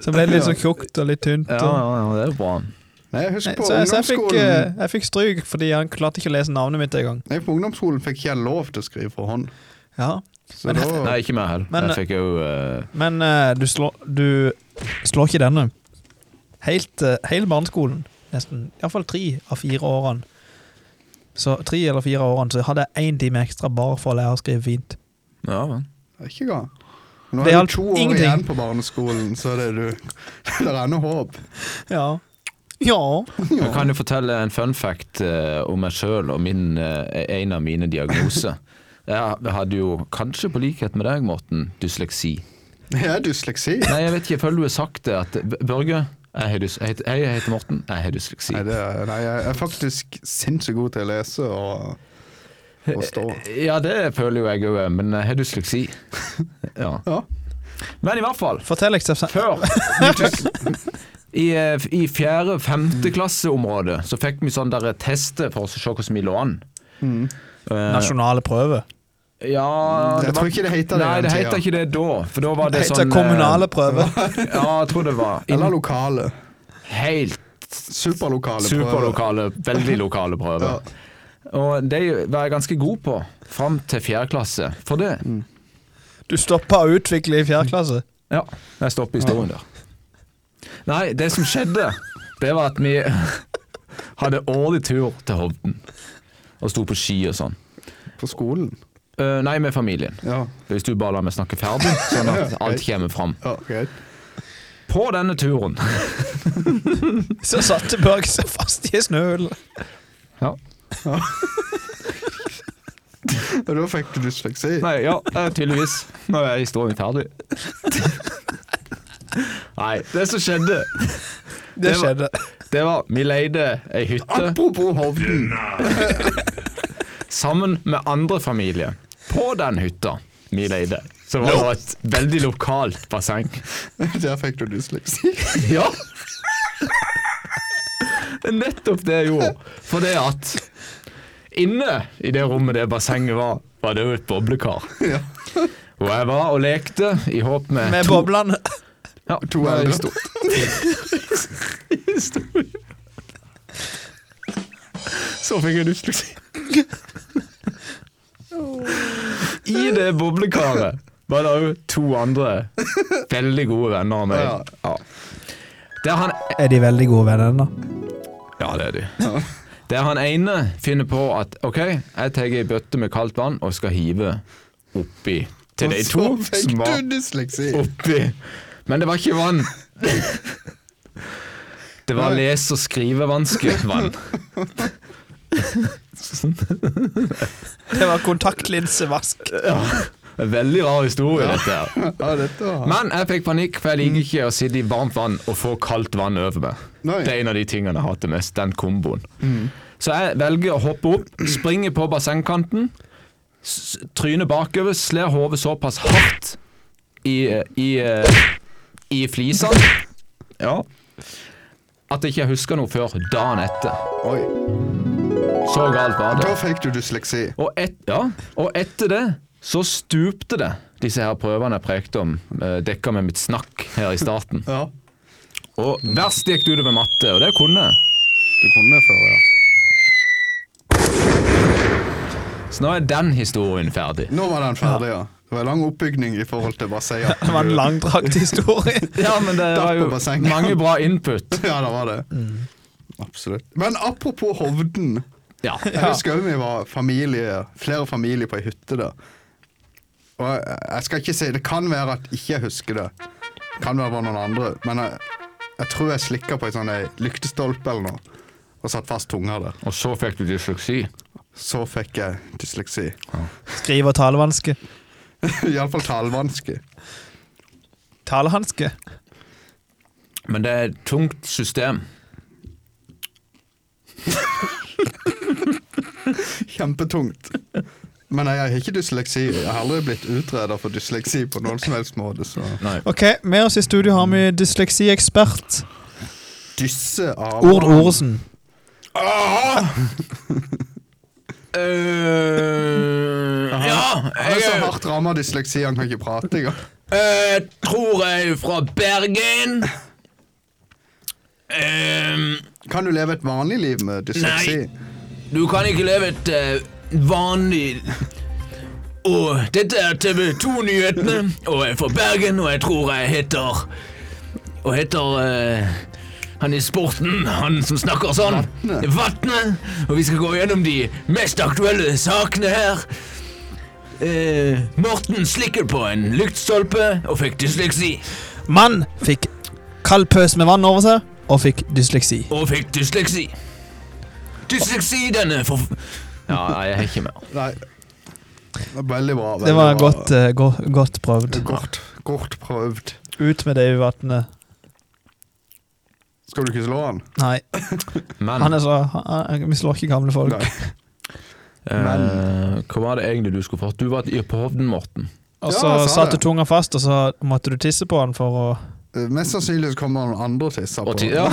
S1: så ble det litt så tjukt og litt tynt.
S3: Ja,
S1: og-
S3: ja, ja, det er jo bra.
S2: Nei, jeg husker
S1: Nei,
S2: på
S1: Så, jeg- så jeg, fikk,
S2: ungdomsskolen
S1: eh, jeg fikk stryk fordi han klarte ikke å lese navnet mitt engang.
S2: Nei, på ungdomsskolen fikk ikke jeg lov til å skrive for hånd.
S1: Ja.
S2: Så da
S3: Nei, ikke meg heller.
S1: Men-
S3: Jeg fikk jo eh,
S1: Men eh, du, slår, du slår ikke denne. Helt, eh, hele barneskolen, nesten. Iallfall tre av fire årene. Så tre eller fire årene så hadde jeg én time ekstra bare for å lære å skrive fint.
S3: Ja, men.
S2: Det er ikke galt. Nå
S1: Det
S2: er
S1: hjalp
S2: det to år
S1: ingenting.
S2: igjen på barneskolen, så det er du Det er ennå håp.
S1: Ja. Ja.
S3: Jeg kan jo fortelle en fun fact eh, om meg sjøl og min, eh, en av mine diagnoser. Jeg hadde jo, kanskje på likhet med deg, Morten, dysleksi.
S2: Jeg er dysleksi.
S3: Nei, jeg vet ikke, jeg føler du har sagt det. At, B- Børge, jeg, har dys jeg, heter, jeg heter Morten, jeg har dysleksi.
S2: Nei, det er, nei, jeg er faktisk sinnssykt god til å lese og, og stå.
S3: Ja, det føler jo jeg òg, men jeg har dysleksi. Ja.
S2: Ja.
S3: Men i hvert fall,
S1: Fortell, Eksepsen.
S3: før I, eh, f- I fjerde- femte klasseområdet så fikk vi sånn der tester for å se hvordan vi lå an. Eh,
S1: Nasjonale prøve.
S3: Ja,
S2: Jeg
S3: det
S2: tror
S3: var-
S2: ikke Mm. det heter det
S3: Nei,
S2: den
S3: det
S2: tida.
S3: heter ikke det da. For da var det,
S1: Det
S3: sånn
S1: heter
S3: eh,
S1: kommunale prøve.
S3: Ja, jeg tror det var.
S2: Eller lokale.
S3: Helt
S2: Superlokale. prøver.
S3: superlokale, veldig lokale prøver. Og det var jeg ganske god på fram til fjerde klasse. For det
S1: Du stoppa å utvikle i fjerde klasse.
S3: Ja, jeg stopper historien der. Nei, det som skjedde, det var at vi hadde årlig tur til Hovden. Og sto på ski og sånn.
S2: På skolen.
S3: Eh, nei, med familien.
S2: Ja,
S3: Hvis du bare lar meg snakke ferdig, sånn at alt kommer fram.
S2: ja greit.
S3: På denne turen
S1: Så satte Børge seg fast i en snøhule.
S3: ja.
S2: Og da fikk du dysleksi.
S3: Nei, ja, eh, tydeligvis. Nå er historien ferdig. Nei, det som skjedde,
S1: Det
S3: Det var-
S1: skjedde.
S3: det var vi leide ei hytte
S2: Apropos Hovden.
S3: sammen med andre familier. På den hytta vi leide, så var det et veldig lokalt basseng.
S2: Der fikk du dysleksi.
S3: Ja! Det er nettopp det jeg gjorde. For det at inne i det rommet det bassenget var, var det jo et boblekar.
S2: Ja.
S3: Og jeg var og lekte i håp med,
S1: Med
S3: to,
S1: boblene.
S3: ja,
S2: To
S3: med
S2: eldre.
S3: historie. Så fikk jeg dysleksi. I det boblekaret var det òg to andre veldig gode venner av
S2: Ja.
S3: meg. Ja. Der han
S1: Er de veldig gode venner ennå?
S3: Ja, det er de. Der han ene finner på at OK, jeg tar ei bøtte med kaldt vann og skal hive oppi til de to
S2: Og så
S3: som
S2: fikk
S3: var
S2: du dysleksi.
S3: oppi. Men det var ikke vann. Det var
S2: Nei.
S3: lese- og skrivevanskevann.
S1: Det var kontaktlinsevask.
S3: En Veldig rar historie, dette her.
S2: Ja, dette var
S3: Men jeg fikk panikk, for jeg liker ikke å sitte i varmt vann og få kaldt vann over meg.
S2: Nei. Mm.
S3: Det er en av de tingene jeg hater mest, den komboen. Så jeg velger å hoppe opp, springe på bassengkanten, s- tryne bakover, slår hodet såpass hardt i, i, i flisene ja. at jeg ikke husker noe før dagen etter.
S2: Oi.
S3: Så galt var det.
S2: Da fikk du dysleksi.
S3: Og, et, ja, og etter det så stupte det, disse her prøvene jeg prekte om, eh, dekka med mitt snakk her i starten.
S2: Ja.
S3: Og verst gikk det utover matte, og det kunne jeg.
S2: Du kunne det før, ja.
S3: Så nå er den historien ferdig.
S2: Nå var den ferdig, ja. Det var en lang oppbygning i forhold til bassenget.
S1: Det var en langdrakt historie.
S3: Ja, men det var jo
S2: på bassenget.
S3: mange bra input.
S2: Ja, det var det. Absolutt. Men apropos Hovden.
S3: Ja.
S2: Jeg husker jo vi var familie, flere familier på ei hytte der. Og jeg, jeg skal ikke si, Det kan være at ikke jeg husker det. Det Kan være det var noen andre. Men jeg, jeg tror jeg slikka på ei sånn ei lyktestolpe eller noe. Og satt fast tunga der.
S3: Og så fikk du dysleksi.
S2: Så fikk jeg dysleksi.
S1: Skrive- og talevanske.
S2: Iallfall talevanske.
S1: Talehanske.
S3: Men det er et tungt system.
S2: Kjempetungt. Men jeg har ikke dysleksi. Jeg har aldri blitt utreda for dysleksi på noen som helst måte, så
S3: Nei.
S1: Ok, Med oss i studio har vi dysleksiekspert
S2: Dysse av
S1: Ord Oresen.
S3: Eh, ja,
S2: Han er så hardt ramma av dysleksi, han kan ikke prate engang.
S3: Jeg eh, tror jeg er fra Bergen. Eh,
S2: Kan du leve et vanlig liv med dysleksi?
S3: Du kan ikke leve et eh, vanlig Og dette er TV 2-nyhetene, og jeg er fra Bergen, og jeg tror jeg heter Og heter eh, han i sporten, han som snakker sånn. Vatnet. Og vi skal gå gjennom de mest aktuelle sakene her. Eh, Morten slikket på en lyktstolpe og fikk dysleksi.
S1: Mann fikk kald pøs med vann over seg og fikk dysleksi.
S3: Og fikk dysleksi. Dysleksi, denne for... Ja, nei, jeg har ikke mer.
S2: Nei. Det er veldig bra.
S1: Det
S2: veldig
S1: var
S2: bra.
S1: godt, eh, go godt prøvd.
S2: Godt, godt prøvd.
S1: Ut med det i vannet.
S2: Skal du ikke slå han?
S1: Nei,
S3: Men,
S1: han er så han, vi slår ikke gamle folk.
S2: Nei.
S3: eh, hva var det egentlig du skulle fått? Du var i- på Hovden, Morten.
S1: Og
S2: Ja,
S1: så
S2: jeg sa
S1: satt du
S2: det.
S1: tunga fast, og så måtte du tisse på han for å
S2: Eh, Mest sannsynlig så kommer noen andre og tisser på.
S3: Og ti- ja.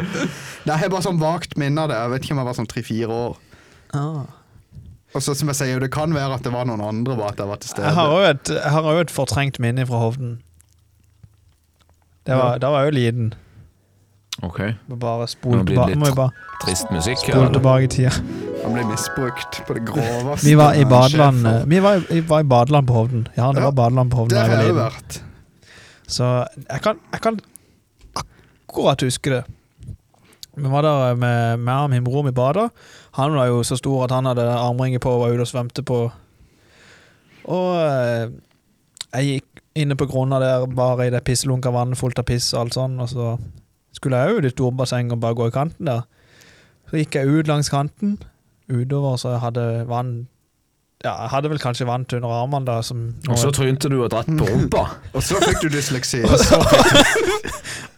S2: Nei, jeg har bare sånn vagt minne av det. Jeg vet ikke om jeg var sånn tre-fire år. Ah. Og så som jeg sier, det kan være at det var noen andre, bare at jeg var til stede.
S1: Jeg har òg et, jeg har også et fortrengt minne fra Hovden. Det var, Da var jeg jo liten.
S3: Ok,
S1: Må bare spole
S3: Nå blir
S1: tilbake.
S3: det litt
S1: Må jo bare
S3: trist musikk. her.
S1: spole tilbake i tida.
S2: Han ble misbrukt på det groveste.
S1: Vi var i
S2: av en
S1: badeland
S2: sjef.
S1: Vi var i, var i badeland på Hovden. Ja, det
S2: Ja,
S1: var badeland på Hovden
S2: Det
S1: da jeg
S2: har
S1: var
S2: jeg
S1: liten.
S2: vært.
S1: Så jeg kan, jeg kan akkurat huske det. Vi var der med meg og min bror vi bada. Han var jo så stor at han hadde armringer på og var ute og svømte på. Og eh, jeg gikk inne på grunna der bare i det pisselunka vannet fullt av piss og alt sånn, og så skulle jeg jo i det store bassenget og bare gå i kanten der. Så gikk jeg ut langs kanten, utover så jeg hadde vann Ja, jeg hadde vel kanskje vann til under armene da, som
S3: Og så trynte du og dratt på rumpa.
S2: Og så fikk du dysleksi.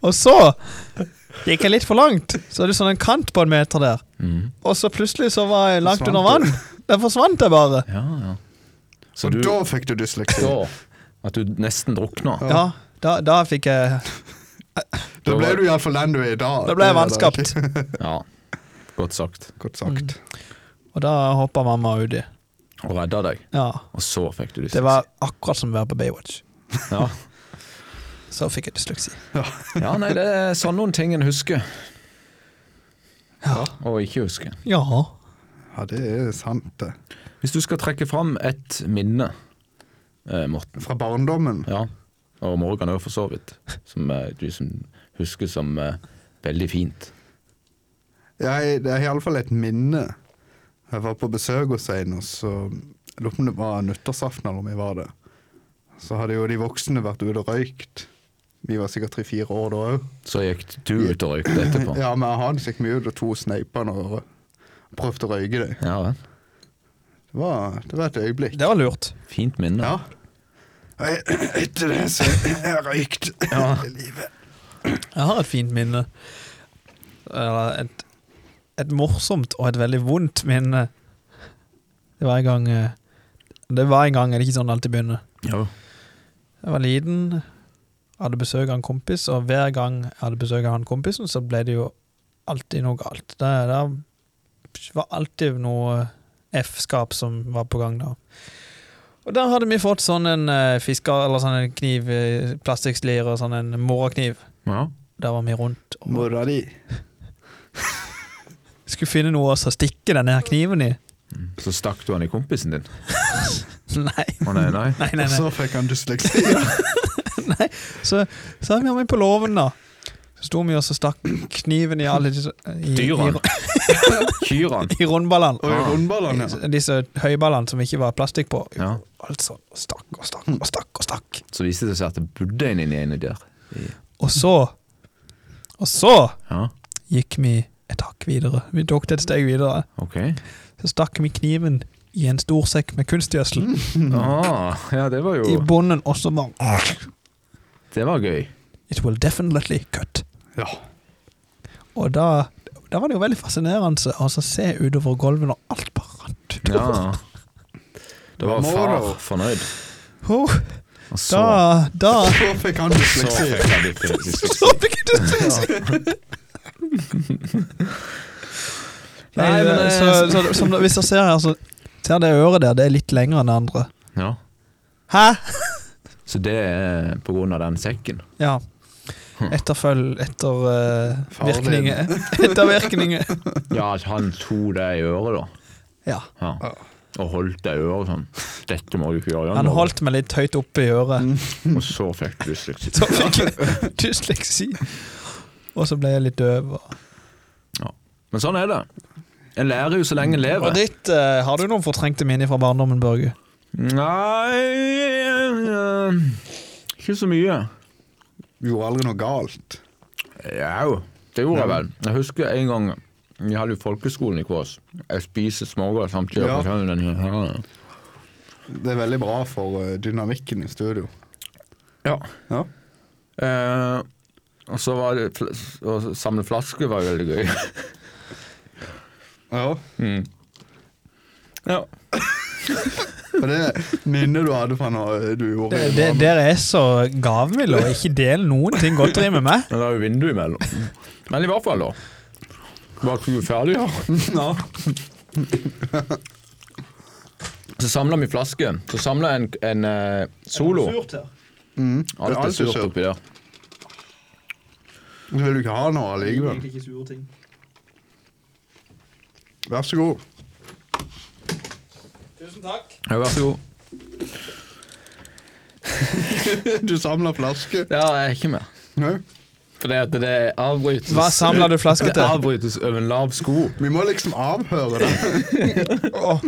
S1: Og så gikk jeg litt for langt, så er det sånn en kant på en meter der.
S3: Mm.
S1: Og så plutselig så var jeg langt
S2: Forsvant
S1: under vann. Der forsvant jeg bare.
S3: Ja, ja. Så
S2: Og
S3: du
S2: da fikk du dysleksi.
S3: da At du nesten drukna.
S1: Ja, da, da fikk jeg
S2: Da ble du iallfall den du er i dag.
S1: Da ble jeg
S2: Det er det
S1: vanskapt.
S3: Ja. Godt sagt.
S2: ikke. Godt sagt.
S1: Og da hoppa mamma uti.
S3: Og redda deg.
S1: Ja.
S3: Og så fikk du dysleksi.
S1: Det var akkurat som å være på Baywatch.
S3: ja.
S1: Så fikk jeg dysleksi.
S3: ja, nei, det er sånn noen ting en husker.
S1: Ja.
S3: Og ikke husker.
S1: Ja.
S2: Ja, det er sant, det.
S3: Hvis du skal trekke fram et minne, eh, Morten
S2: Fra barndommen.
S3: Ja. Og Morgan òg, for så vidt. Som eh, du som husker som eh, veldig fint.
S2: Jeg, det er iallfall et minne. Jeg var på besøk hos en, og så jeg lurer på om det var nyttårsaften eller om vi var det. Så hadde jo de voksne vært ute og røykt. Vi var sikkert tre-fire år da òg.
S3: Så gikk du ut og røykte etterpå.
S2: Ja, men han gikk mye ut og to sneiper og prøvde å røyke det.
S3: Ja vel.
S2: Det var, det var et øyeblikk.
S1: Det var lurt.
S3: Fint minne.
S2: Ja. Jeg- Etter det så har jeg røykt
S3: Ja.
S2: hele livet.
S1: Jeg har et fint minne. Eller et, et morsomt og et veldig vondt minne. Det var en gang eh, Det var en gang, er det ikke sånn det alltid begynner?
S3: Jo.
S1: Jeg var liten, hadde besøk av en kompis, og hver gang jeg hadde besøk av han kompisen, så ble det jo alltid noe galt. Det, det var alltid noe F-skap som var på gang da. Og der hadde vi fått sånn en eh, fisker, eller sånn en kniv, eh, plastikkslir og sånn en morrakniv.
S3: Ja.
S1: Der var vi rundt og
S2: Mora di.
S1: skulle finne noe å stikke denne her kniven i.
S3: Så stakk du han i kompisen din.
S1: Nei,
S3: Å nei, nei.
S1: nei, nei.
S2: Og
S1: nei.
S2: så fikk han dysleksi.
S1: Så sa vi meg på låven, da. Så sto vi og så stakk kniven i alle disse i, i,
S3: Dyra.
S1: i,
S3: Kyr han.
S1: i rundballene.
S2: Og i rundballene, Sånn, ja.
S1: Eh, Disse høyballene som ikke var plastikk på.
S3: Ja.
S1: Altså, stakk og stakk og stakk og stakk.
S3: Så viste det seg at det bodde en inni ene der.
S1: Og så Og så
S3: Ja,
S1: gikk vi et hakk videre. Vi tok det et steg videre.
S3: ok.
S1: Så stakk vi kniven i en stor sekk med kunstgjødsel
S3: Ah, ja, det var
S1: i
S3: jo
S1: bunnen, og så bare
S3: Det var gøy.
S1: It will definitely cut.
S2: Ja.
S1: Og da da var det jo veldig fascinerende å så se utover gulvet når alt bare rant utover.
S3: Ja. Da var
S2: Må
S3: far
S2: da.
S3: fornøyd.
S1: Oh,
S3: Og så
S1: da, da
S2: Så fikk han
S3: Så
S2: dysleksi.
S3: fikk han litt dysleksi.
S1: Så fikk du dysleksi! Nei,
S3: Nei, men,
S1: men,
S3: eh,
S1: så, så, som, hvis dere ser her, så ser det øret der, det er litt lengre enn det andre.
S3: Ja.
S1: Hæ?
S3: Så det er på grunn av den sekken.
S1: Ja. Etterfølg etter eh,
S2: Faren din.
S1: virkninger. Ettervirkninger.
S3: Ja, at han tok det i øret, da.
S1: Ja.
S3: Ja. Og holdt deg i øret sånn. Dette må du ikke gjøre. Jan
S1: Han
S3: Olav.»
S1: holdt meg litt høyt opp i øret.
S3: Og så fikk du dysleksi.
S1: Så fikk jeg dysleksi. Og så ble jeg litt døv. og-
S3: Ja. Men sånn er det. En lærer jo så lenge en
S1: Og
S3: lever.
S1: ditt, eh, har du noen fortrengte minner fra barndommen, Børge?
S3: Nei eh, Ikke så mye.
S2: Gjorde aldri noe galt.
S3: Jau, det gjorde jeg vel. Jeg husker en gang vi hadde jo folkeskolen i Kås. Jeg spiser smågodt samtidig.
S2: Ja.
S3: på kjøkkenet.
S2: Det er veldig bra for eh, dynamikken i studio.
S3: Ja.
S2: Ja.
S3: Eh, og så var det fl- Å samle flasker var jo veldig gøy.
S2: ja.
S3: Ja.
S2: Og det minnet du hadde fra når eh, du gjorde
S1: Det, det, dere er så gavmilde og ikke deler noen ting godteri med meg.
S3: Men det er jo vindu imellom. Men i hvert fall, da. Var ikke du ferdig, da?
S2: Ja.
S3: Så samla vi flasker. Så samla en, en eh, Solo. Alt
S2: Alt er
S3: er surt
S2: surt.
S3: oppi der.
S2: Så vil du ikke ha noe allikevel. Vær så god.
S1: Tusen takk.
S3: Ja, vær så god.
S2: Du samler flasker.
S3: Der er jeg ikke med.
S2: Nei.
S3: Fordi at det avbrytes
S1: Hva samler du flasker
S3: Det
S1: til?
S3: avbrytes over en lav sko.
S2: Vi må liksom avhøre det. Åh.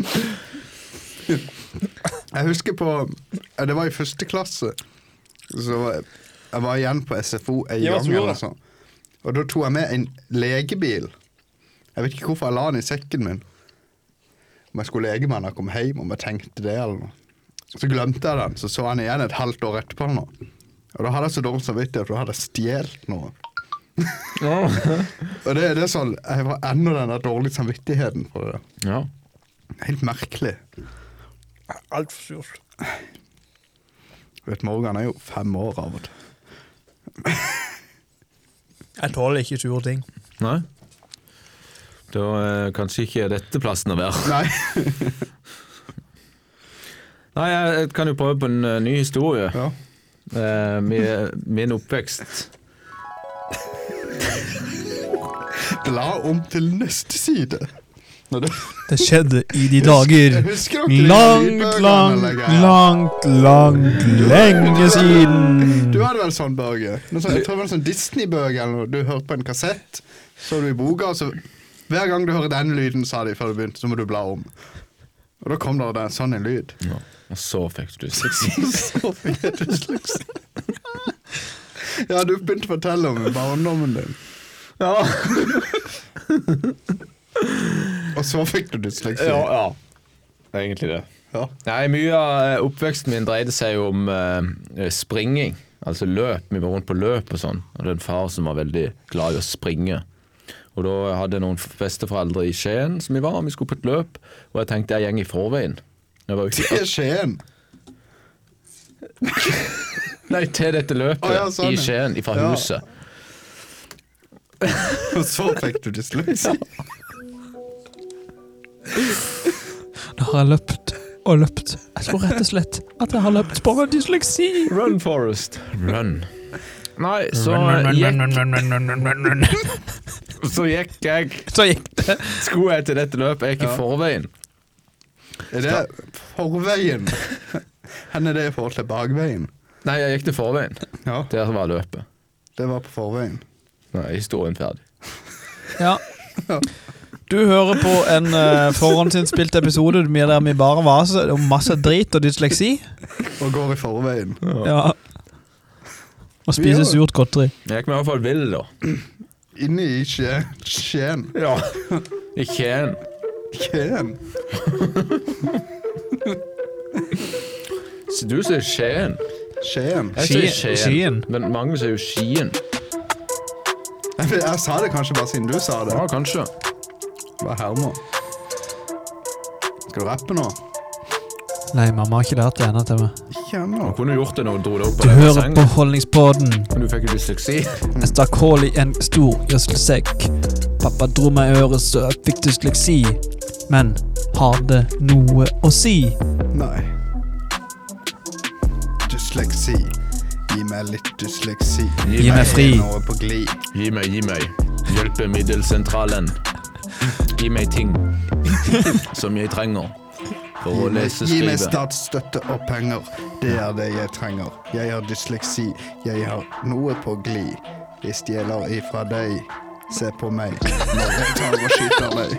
S2: Jeg husker på ja, Det var i første klasse. Så var jeg- jeg var igjen på SFO en
S1: Ja, hva
S2: gang.
S1: tror du
S2: Eller
S1: det?
S2: sånn. Og da tok jeg med en legebil. Jeg vet ikke hvorfor jeg la den i sekken min. Om jeg skulle lege med den da jeg kom hjem, om jeg tenkte det eller noe. Så glemte jeg den, så så jeg den igjen et halvt år etterpå. Nå. Og da hadde jeg så dårlig samvittighet, for da hadde jeg stjålet noe. Og det, det er sånn, Jeg var ennå den der dårlige samvittigheten for det. der.
S3: Ja.
S2: Helt merkelig.
S1: Altfor surt.
S2: Du vet, Morgan er jo fem år av og til.
S1: Jeg tåler ikke sure ting.
S3: Nei? Da eh, kanskje ikke dette plassen å være.
S2: Nei.
S3: Nei, jeg jeg kan jo prøve på en eh, ny historie.
S2: Ja.
S3: Eh, med min oppvekst.
S2: Bla om til neste side. Nå, det,
S1: Det skjedde i de dager
S2: husker dere de
S1: langt,
S2: lydbøkene,
S1: langt,
S2: eller?
S1: langt, langt lenge siden.
S2: du hadde vel sånn, Børge? Noe sånn, jeg tror det var en sånn Disney-bøke eller noe. Du hørte på en kassett, så du i boka, og så hver gang du hører den lyden, sa de før du begynte, så må du bla om. Og da kom det en sånn en lyd.
S3: Og så fikk du dysleksi.
S2: Så fikk jeg dysleksi. Ja, du begynte å fortelle om barndommen din.
S3: Ja,
S2: Og så fikk du dysleksi.
S3: ja. Det er egentlig det.
S2: Ja.
S3: Nei, Mye av eh, oppveksten min dreide seg jo om eh, springing. Altså løp. Vi var rundt på løp og sånn. Og det er en far som var veldig glad i å springe. Og da hadde jeg noen f- besteforeldre i Skien som vi var, og vi skulle på et løp. Og jeg tenkte jeg går i forveien. Jeg var jo ikke,
S2: Til Skien.
S3: nei, til dette løpet.
S2: Å, ja, sånn,
S3: I
S2: ja.
S3: Skien, fra
S2: Ja.
S3: huset.
S2: Og så fikk du dysleksi.
S1: Nå har jeg løpt og løpt. Jeg tror rett og slett at jeg har løpt på grunn av dysleksi.
S3: Run, Forest. Run. Nei, så gikk, så gikk jeg
S1: Så gikk det.
S3: Skulle jeg til dette løpet, jeg gikk i forveien.
S2: Er det forveien? Hen er det i forhold til bakveien?
S3: Nei, jeg gikk til forveien.
S2: Ja,
S3: Der var løpet.
S2: det var på forveien.
S3: Nei, historien ferdig.
S1: Ja. Du hører på en eh, forhåndsinnspilt episode med der vi bare vaser om masse drit og dysleksi.
S2: Og går i forveien.
S1: Ja. Og spiser surt godteri.
S3: Jeg gikk meg i hvert fall vill, da.
S2: Inne i Skje- Skien.
S3: Ja. I Kien.
S2: Skien.
S3: Så Du sier Skien.
S2: Skien.
S3: Jeg sier
S1: Skien.
S3: Skien.
S1: Skien.
S3: Men mange sier jo Skien.
S2: Jeg, jeg sa det kanskje bare siden du sa det.
S3: Ja, kanskje.
S2: Hva hermer? Skal du rappe nå?
S1: Nei, mamma har ikke lært det ennå til meg.
S2: Ikke ennå.
S3: Man kunne gjort det når du dro det opp
S1: Du
S3: den
S1: hører
S3: sengen,
S1: på Holdningsbåten.
S3: Men du fikk jo dysleksi.
S1: Jeg stakk hull i en stor gjødselsekk. Pappa dro meg i øret, så jeg fikk dysleksi. Men har det noe å si?
S2: Nei. Dysleksi. Gi meg litt dysleksi.
S1: Gi meg fri.
S2: Noe på glid.
S3: Gi meg, gi meg. Hjelpe middelsentralen. Gi meg ting som jeg trenger. For å lese,
S2: Gi meg
S3: skrive.
S2: statsstøtte og penger. Det er det jeg trenger. Jeg har dysleksi. Jeg har noe på gli. De stjeler ifra deg. Se på meg når jeg tar og skyter deg.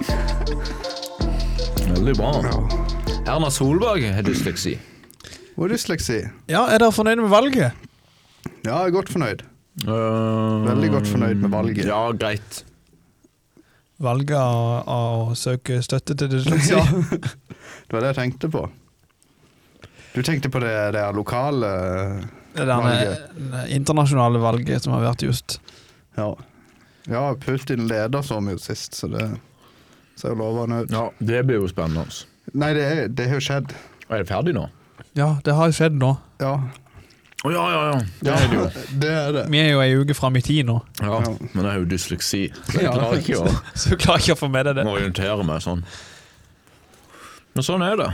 S3: Veldig bra.
S2: Ja.
S3: Erna Solberg har dysleksi.
S2: Hvor er dysleksi?
S1: Ja, Er dere fornøyd med valget?
S2: Ja, jeg er godt fornøyd.
S3: Veldig
S2: Eh, godt fornøyd med valget.
S3: Ja, greit.
S1: Valget av, av å søke støtte til dysleksi?
S2: Ja. Det var det jeg tenkte på. Du tenkte på det der lokale eh,
S1: Det der eh, internasjonale valget som har vært just.
S2: Ja. Ja, Putin leder så mye sist, så det ser jo lovende ut.
S3: Ja, Det blir jo spennende.
S2: Nei, det, er- det har jo skjedd.
S3: Er det ferdig nå?
S1: Ja, det har skjedd nå.
S2: Ja.
S3: Å ja, ja, ja.
S2: ja. Det er det.
S1: Vi er jo ei uke fram i tid nå,
S3: Ja,
S2: Ja.
S3: Men jeg har jo dysleksi, så jeg
S2: Ja.
S3: klarer ikke å
S1: så du klarer ikke å få med deg det.
S3: må orientere meg sånn. Men sånn er det.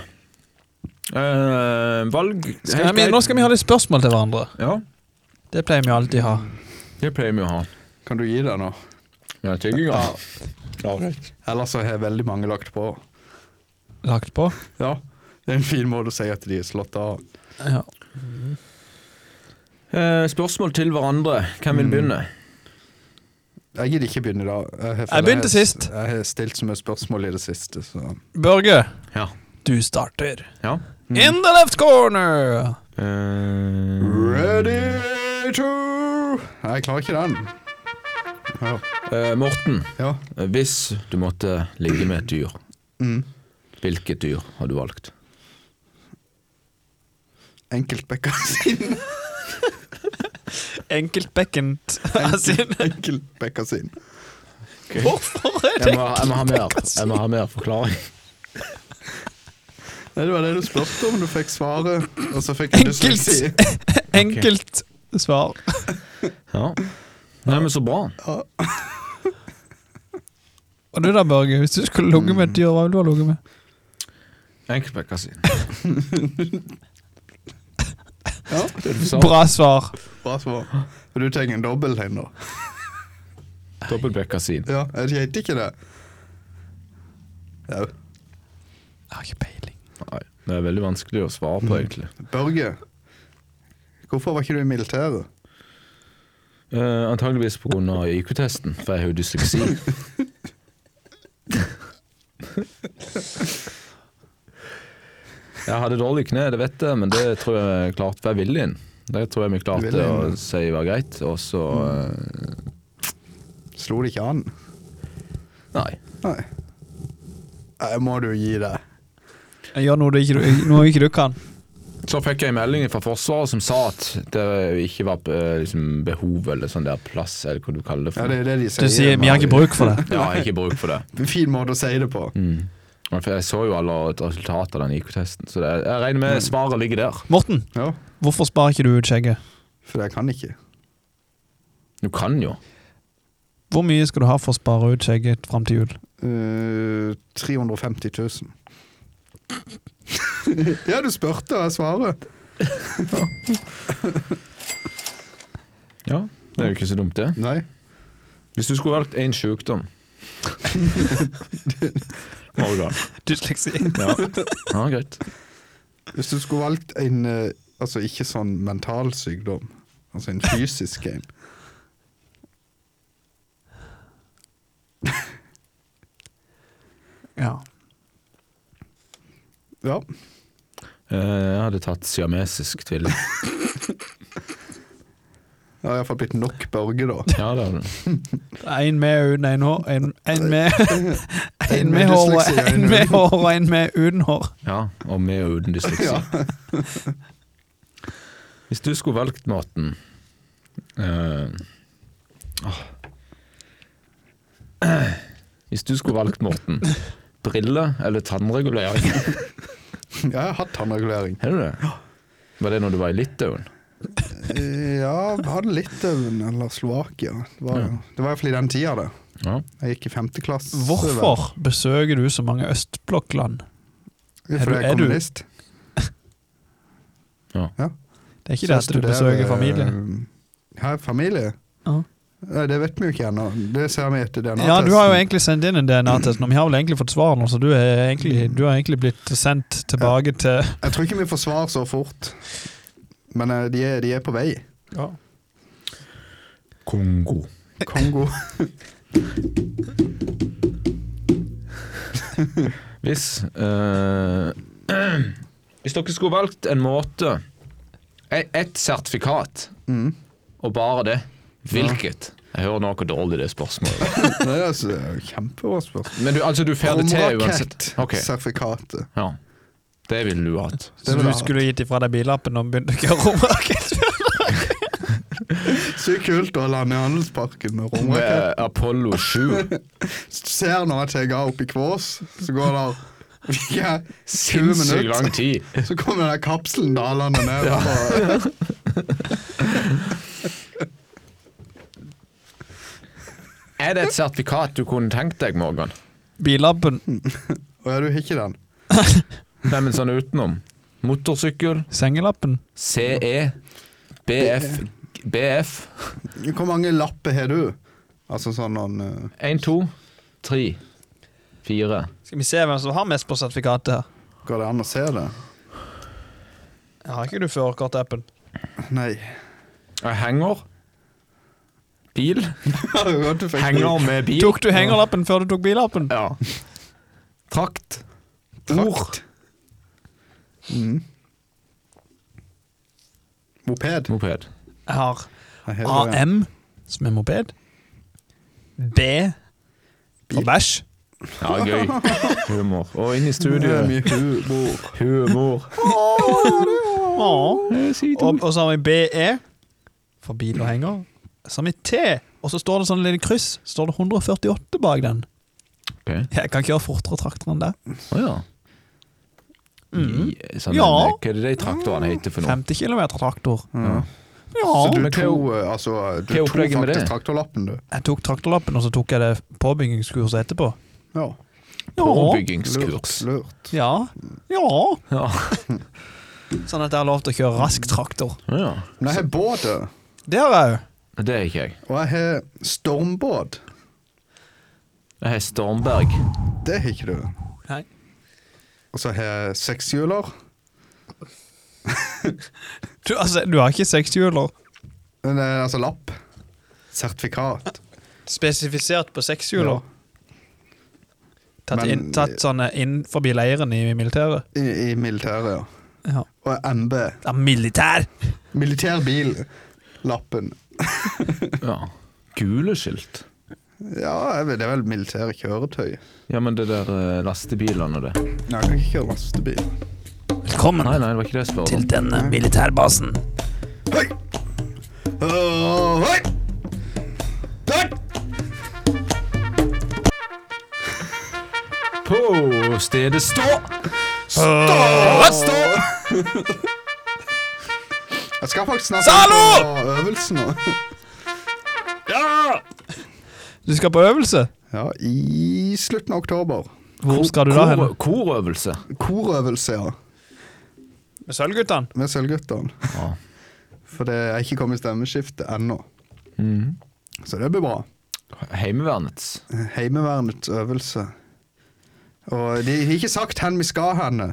S3: Eh, valg
S1: Skal vi, nå skal vi ha litt spørsmål til hverandre.
S3: Ja,
S1: Det pleier vi alltid ha.
S3: det pleier vi å ha.
S2: Kan du gi deg nå?
S3: Ja, tygginga. Ja, greit.
S2: Ellers så har veldig mange lagt på.
S1: Lagt på.
S2: Ja, Det er en fin måte å si at de er slått av.
S1: Ja.
S3: Eh, spørsmål til hverandre. Hvem vil begynne?
S2: Jeg gidder ikke begynne i dag. har-
S1: Jeg begynte
S2: har-
S1: sist.
S2: Jeg har stilt så mye spørsmål i det siste, så
S1: Børge,
S3: Ja.
S1: du starter.
S3: ja.
S1: In the left corner!
S3: Eh,
S2: Ready to Nei, jeg klarer ikke den. Ja.
S3: eh, Morten,
S2: ja.
S3: eh, hvis du måtte ligge med et dyr,
S1: Mm.
S3: hvilket dyr har du valgt?
S2: Enkeltbekka sin.
S1: Enkeltbekkent. Sin.
S2: Enkeltbekka sin.
S1: Hvorfor er det
S3: Jeg må, jeg må ha mer, jeg må ha mer forklaring.
S2: Nei, det var det du spurte om. Du fikk svaret, og så fikk du
S1: enkelt,
S2: dysleksi.
S1: enkelt svar?
S3: Ja. Nei, men så bra.
S1: Og du da, Børge, hvis du skulle ligget med et dyr, hva ville du ha ligget med?
S3: Enkeltbekka sin.
S2: Ja,
S1: Bra svar.
S2: bra svar. Og du trenger en dobbel en, da.
S3: Dobbeltbekka sin.
S2: Ja, jeg heter ikke det. Ja.
S1: Jeg har ikke peiling.
S3: Nei, det er veldig vanskelig å svare på, egentlig.
S2: Mm. Børge, hvorfor var ikke du i militæret?
S3: Eh, antageligvis på grunn av IQ-testen, for jeg har jo dysleksi. jeg hadde dårlig kne, det vet jeg, men det tror jeg klarte for jeg ville inn. Det tror jeg vi klarte
S2: Ville
S3: å
S2: inn. Mm.
S3: si var greit, og så eh,
S2: Slo det ikke an?
S3: Nei.
S2: Nei. Nei, må du gi deg.
S1: Jeg gjør noe du ikke, noe ikke du kan.
S3: Så fikk jeg en melding fra Forsvaret som sa at det ikke var eh, liksom, behov eller sånn der plass, eller hva du kaller det
S2: Ja,
S3: for.
S2: det er det de sier.
S1: Du sier vi har ikke bruk for det.
S3: Ja, ikke bruk for det.
S2: En fin måte å si det på.
S3: Ja, Mm. For jeg så jo alle resultatet av den IQ-testen, så det, jeg regner med svaret ligger der.
S1: Morten,
S2: Ja,
S1: hvorfor sparer ikke du ut skjegget?
S2: for jeg kan ikke.
S3: Du kan jo.
S1: Hvor mye skal du ha for å spare ut skjegget fram til jul?
S2: Eh, 350 000. ja, du spurte, og jeg svarer.
S3: Ja, det er jo ikke så dumt det.
S2: Nei.
S3: Hvis du skulle valgt én sjukdom Morgan.
S1: Dysleksi.
S3: Ja. ja, greit.
S2: Hvis du skulle valgt en eh, Altså ikke sånn mental sykdom, altså en fysisk en
S1: Ja.
S2: Ja.
S3: Eh, Jeg hadde tatt siamesisk tvilling.
S2: Det har iallfall blitt nok Børge, da.
S3: Ja, det hadde du.
S1: Én med uten en hår, en, en med En
S2: En
S1: med
S2: med
S1: hår, og
S2: dysleksi og
S1: en med hår og en
S2: en uten.
S1: med uten hår.
S3: Ja, og med og uten dysleksi.
S2: Ja.
S3: Hvis du skulle valgt maten eh, åh. Hvis du skulle valgt maten Briller eller tannregulering?
S2: Jeg har hatt tannregulering.
S3: Er du det? Var det når du var i Litauen?
S2: Eh, Ja, jeg hadde Litauen eh, eller Slovakia. Det var, jo- det var iallfall i den tida, det.
S3: Ja.
S2: Jeg gikk i femte klasse.
S1: Hvorfor besøker du så mange østblokkland?
S2: Ja,
S1: Er du-
S2: Fordi jeg
S1: er
S2: er
S1: du-
S2: kommunist.
S3: Ja.
S1: Det er ikke
S2: Så
S1: det
S2: jeg
S1: at du
S2: studerer,
S1: besøker familie.
S2: eh, Her, eh, familie?
S1: Ja.
S2: Nei, Det vet vi jo ikke ennå. Det ser vi etter DNA-testen.
S1: Ja, du har jo egentlig sendt inn en DNA-test, og vi har vel egentlig fått svar nå, så du, er egentlig, du har egentlig blitt sendt tilbake til
S2: Jeg tror ikke vi får svar så fort, men eh, de er, de er på vei.
S1: ja.
S3: Kongo.
S2: Kongo.
S3: Hvis eh, Hvis dere skulle valgt en måte e- Et sertifikat
S2: Mm.
S3: og bare det, hvilket? Jeg hører nå hvor dårlig det spørsmålet er.
S2: Det er altså kjempebra spørsmål.
S3: Men du, altså, du får det til uansett. Ok,
S2: Sertifikatet.
S3: ja. Det ville du hatt.
S1: Så du skulle gitt ifra deg billappen og begynt å kjøre romrakett?
S2: Sykt kult å lande i Handelsparken med romrakett.
S3: Med Apollo 7.
S2: Ser når jeg tar av opp i Kvås, så går det ja, 20
S3: Sinnssykt lang
S2: minutter.
S3: tid.
S2: Så kommer den der kapselen dalende ned. og-
S3: Er det et sertifikat du kunne tenkt deg, Morgan?
S1: Billappen?
S2: Å ja, du har ikke den?
S3: Nei, men sånn utenom. Motorsykkel,
S1: Sengelappen?
S3: CE, BF, BF
S2: Hvor mange lapper har du? Altså sånn noen eh,
S3: 1, 2, 3, 4
S1: Skal vi se hvem som har mest på sertifikatet her?
S2: Går det an å se det?
S1: Har ikke du førerkortappen?
S2: Nei.
S3: Jeg henger. Bil.
S2: Henger
S3: Henger med bil.
S1: Tok du hengerlappen før du tok billappen?
S3: Ja. Trakt.
S2: Trakt. Mm. Moped.
S3: Moped.
S1: Jeg har
S2: Jeg heter det.
S1: AM, som er moped. B for bæsj.
S3: Ja, gøy. Humor. Og inn
S2: Det
S3: i
S2: er
S3: studio.
S2: mye humor.
S3: Humor.
S1: Og,
S3: Det er sykt.
S1: og så har vi BE for bil og henger. Så har vi T, og så står det sånn lille kryss. Så står det 148 bak den.
S3: Ok.
S1: Jeg kan kjøre fortere traktor enn det.
S3: Å ja. I- Sånn,
S1: Ja.
S3: en- Hva er det de traktorene heter for noe?
S1: 50 km traktor.
S2: Ja. Så
S1: Ja.
S2: du
S3: Men hva er
S2: tok,
S3: opp-
S2: eh, altså, du
S3: hva er
S2: tok
S3: opplegget med
S2: faktisk
S3: det?
S2: traktorlappen, du.
S1: Jeg tok traktorlappen, og så tok jeg det påbyggingskurset etterpå.
S2: Ja. Lurt.
S3: Påbyggingskurs.
S2: lurt.
S1: Ja. Ja.
S3: Ja.
S1: Sånn at jeg har lov til å kjøre rask traktor.
S3: ja.
S2: Men jeg har båt, eh. jeg.
S1: Det har jeg jo.
S3: Det er ikke jeg.
S2: og jeg har stormbåt.
S3: Jeg har Stormberg.
S2: Det har ikke du.
S1: Nei.
S2: Og så har jeg sekshjuler.
S1: Du, altså, du har ikke sekshjuler
S2: Men det er Altså lapp. Sertifikat.
S1: spesifisert på
S2: Ja.
S1: sekshjuler? Tatt,
S2: Men-
S1: inn, tatt sånne inn forbi leiren i militæret?
S2: I, i militæret, ja.
S1: Ja.
S2: Og MB.
S1: ja militær!
S2: Militærbil-lappen.
S3: Ja. Gule skilt.
S2: Ja, jeg vet, det er vel militære kjøretøy.
S3: Ja, men det der eh, lastebilene og det.
S2: Nei, jeg kan ikke kjøre lastebil.
S1: Velkommen
S3: Nei, nei, det var ikke det jeg spurte om.
S1: til denne militærbasen.
S2: Hei! Åh, hei! Der!
S3: På stedet stå!
S2: Stå! Jeg skal faktisk snart
S1: Zalo!
S2: på øvelse nå.
S1: Du skal på øvelse?
S2: Ja, i slutten av oktober.
S1: Hvor skal du da hen?
S3: Kor- Korøvelse.
S2: Korøvelse, ja.
S1: Med Sølvguttene?
S2: Med Sølvguttene.
S3: Ja.
S2: For det er ikke kommet stemmeskifte ennå.
S3: Mhm.
S2: Så det blir bra.
S3: Heimevernets.
S2: Heimevernets øvelse. Og de har ikke sagt hen vi skal henne,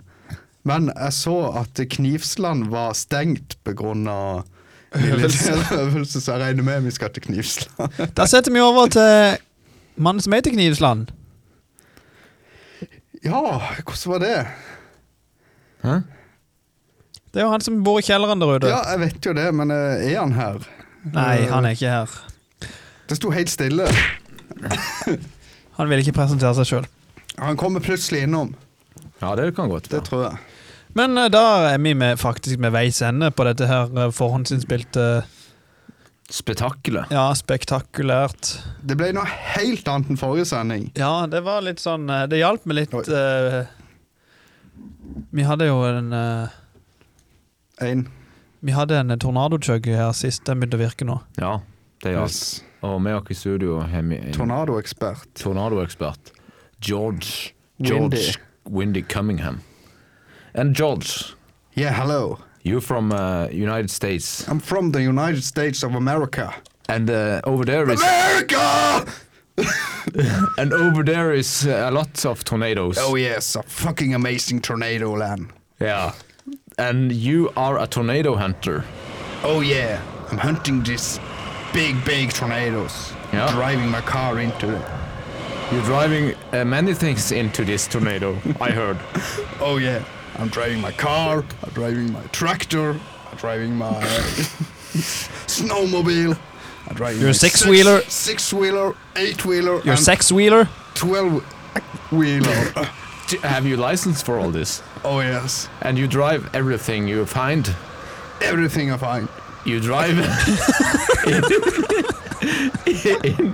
S2: men jeg så at Knivsland var stengt pga. militærøvelse, så jeg regner med vi skal til Knivsland.
S1: Da setter vi over til mannen som heter Knivsland.
S2: Ja, hvordan var det?
S3: Hæ?
S1: Det er jo han som bor i kjelleren der ute.
S2: Ja, jeg vet jo det, men eh, er han her?
S1: Nei, han er ikke her.
S2: Det sto helt stille.
S1: Han vil ikke presentere seg sjøl.
S2: Han kommer plutselig innom.
S3: Ja, det kan godt
S2: Det
S3: være.
S2: tror jeg.
S1: Men eh, da er vi med, faktisk ved veis ende på dette her eh, forhåndsinnspilte
S3: Spetakkelet.
S1: Ja, spektakulært.
S2: Det ble noe helt annet enn forrige sending.
S1: Ja, det var litt sånn eh, Det hjalp meg litt
S2: Oi.
S1: eh, Vi hadde jo en eh,
S2: Én.
S1: Vi hadde en tornadochug her sist. Den begynte å virke nå.
S3: Ja, det er alt.
S2: Yes.
S3: Og med oss i studio har vi en
S2: Tornadoekspert.
S3: tornadoekspert. George. George Windy Cummingham. And George,
S2: Yeah, hello.
S3: you're from uh, United States.
S2: I'm from the United States of America.
S3: And uh, over there is
S2: America!
S3: and over there is uh, lots of tornadoes.
S2: Oh yes, a fucking amazing tornado land.
S3: yeah. And you are a tornado hunter.
S2: Oh yeah, I'm hunting these big, big tornadoes.
S3: Yeah.
S2: Driving my car into it.
S3: You're driving uh, many things into this tornado. I heard.
S2: Oh yeah, I'm driving my car. I'm driving my tractor. I'm driving my snowmobile. I'm driving
S1: You're a
S2: my
S1: six-wheeler.
S2: six wheeler, eight wheeler,
S1: You're a sex wheeler.
S2: twelve wheeler.
S3: Do- Have you license for all this?
S2: oh yes,
S3: And you drive everything you find.
S2: everything I find.
S3: You drive.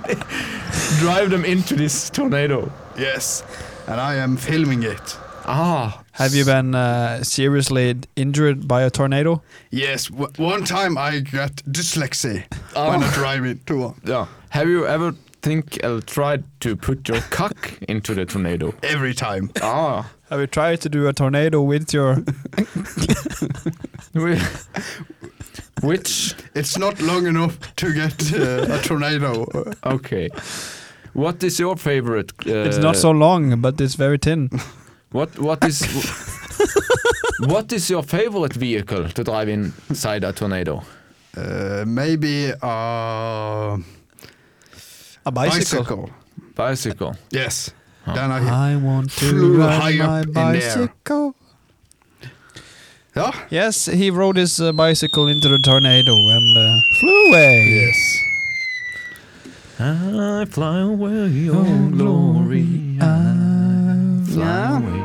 S3: drive them into this tornado.
S2: Yes, and I am filming it.
S3: Ah,
S1: Have you been uh, seriously injured by a tornado?
S2: Yes, w- one time I got dyslexia when I drive into one.
S3: yeah. Have you ever think uh, tried to put your cock into the tornado?
S2: Every time.
S3: Ah,
S1: Have you tried to do a tornado with your?
S3: Whi- which?
S2: It's not long enough to get uh, a tornado.
S3: Okay. What is your favorite? Uh,
S1: It's not so long, but it's very thin.
S3: What? What is? what is your favorite vehicle to drive inside a tornado?
S2: Uh, maybe uh,
S1: A bicycle.
S2: bicycle.
S3: Bicycle.
S2: Yes. Then I,
S1: I want to
S2: Flew
S1: ride
S2: high
S1: my
S2: up in the air.
S1: bicycle.
S2: ja.
S1: Yes, he rode his uh, bicycle into the tornado and uh, flew away.
S2: Yes.
S3: I fly away, oh glory.
S1: Ah,
S3: I fly away.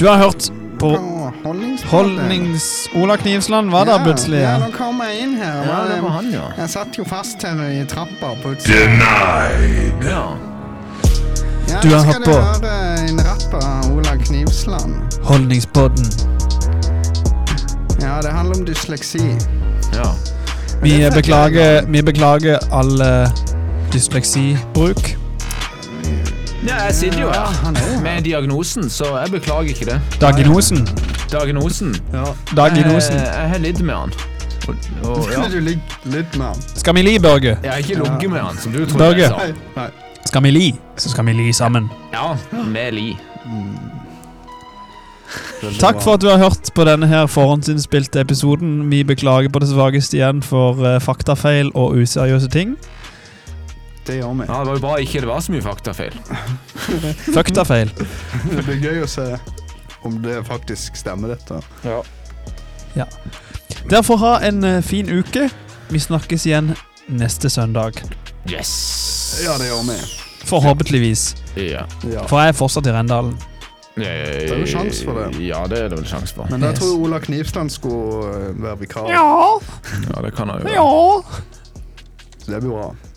S1: Du har hørt på
S2: Holdningsplaten.
S1: Holdnings-Ola Knivsland, var det plutselig?
S2: Ja, nå kom jeg inn her.
S3: Ja,
S2: men
S3: det var
S2: jeg-
S3: han, ja.
S2: Jeg satt jo fast her i trappa plutselig.
S3: Ja.
S2: Ja,
S1: Du
S2: nå
S1: har
S2: skal
S1: hatt
S2: du
S1: på.
S2: høre en rapp av Ola Knivsland.
S1: Holdningspodden.
S2: Ja, det handler om dysleksi.
S3: ja.
S1: Vi
S2: Det er
S1: beklager, vi beklager all eh, dysleksibruk.
S3: Ja, jeg sitter jo
S2: Ja, han er jo
S3: her
S2: her.
S3: med diagnosen, så jeg beklager ikke det.
S1: Daginosen.
S3: Diagnosen.
S1: Daginosen.
S3: Jeg, jeg har lidd med han. Og, og, ja.
S2: Kunne du ligge litt med han?
S1: Skal vi li, Børge?
S3: Jeg har ikke ligget med han, som du trodde
S1: Børge.
S3: jeg sa.
S2: Nei. Nei.
S1: Skal vi li, så skal vi li sammen.
S3: Ja, med li.
S1: Takk for at du har hørt på denne her forhåndsinnspilte episoden. Vi beklager på det svakeste igjen for eh, faktafeil og useriøse ting.
S2: Det gjør vi.
S3: Ja, det var jo bra ikke det var så mye faktafeil.
S1: Faktafeil.
S2: Det blir gøy å se om det faktisk stemmer, dette.
S1: Derfor ha en eh, fin uke. Vi snakkes igjen neste søndag.
S3: Yes.
S2: Ja, det gjør vi.
S1: Forhåpentligvis.
S3: Ja.
S2: Ja.
S1: For jeg er fortsatt i Rendalen.
S3: Det
S2: er jo sjanse for det.
S3: Ja, det er det vel sjanse for.
S2: Men jeg
S1: Yes.
S2: tror Ola Knivsland skulle eh, være vikar.
S1: Ja,
S3: Ja, det kan jeg jo.
S1: ja.
S2: Så det blir bra.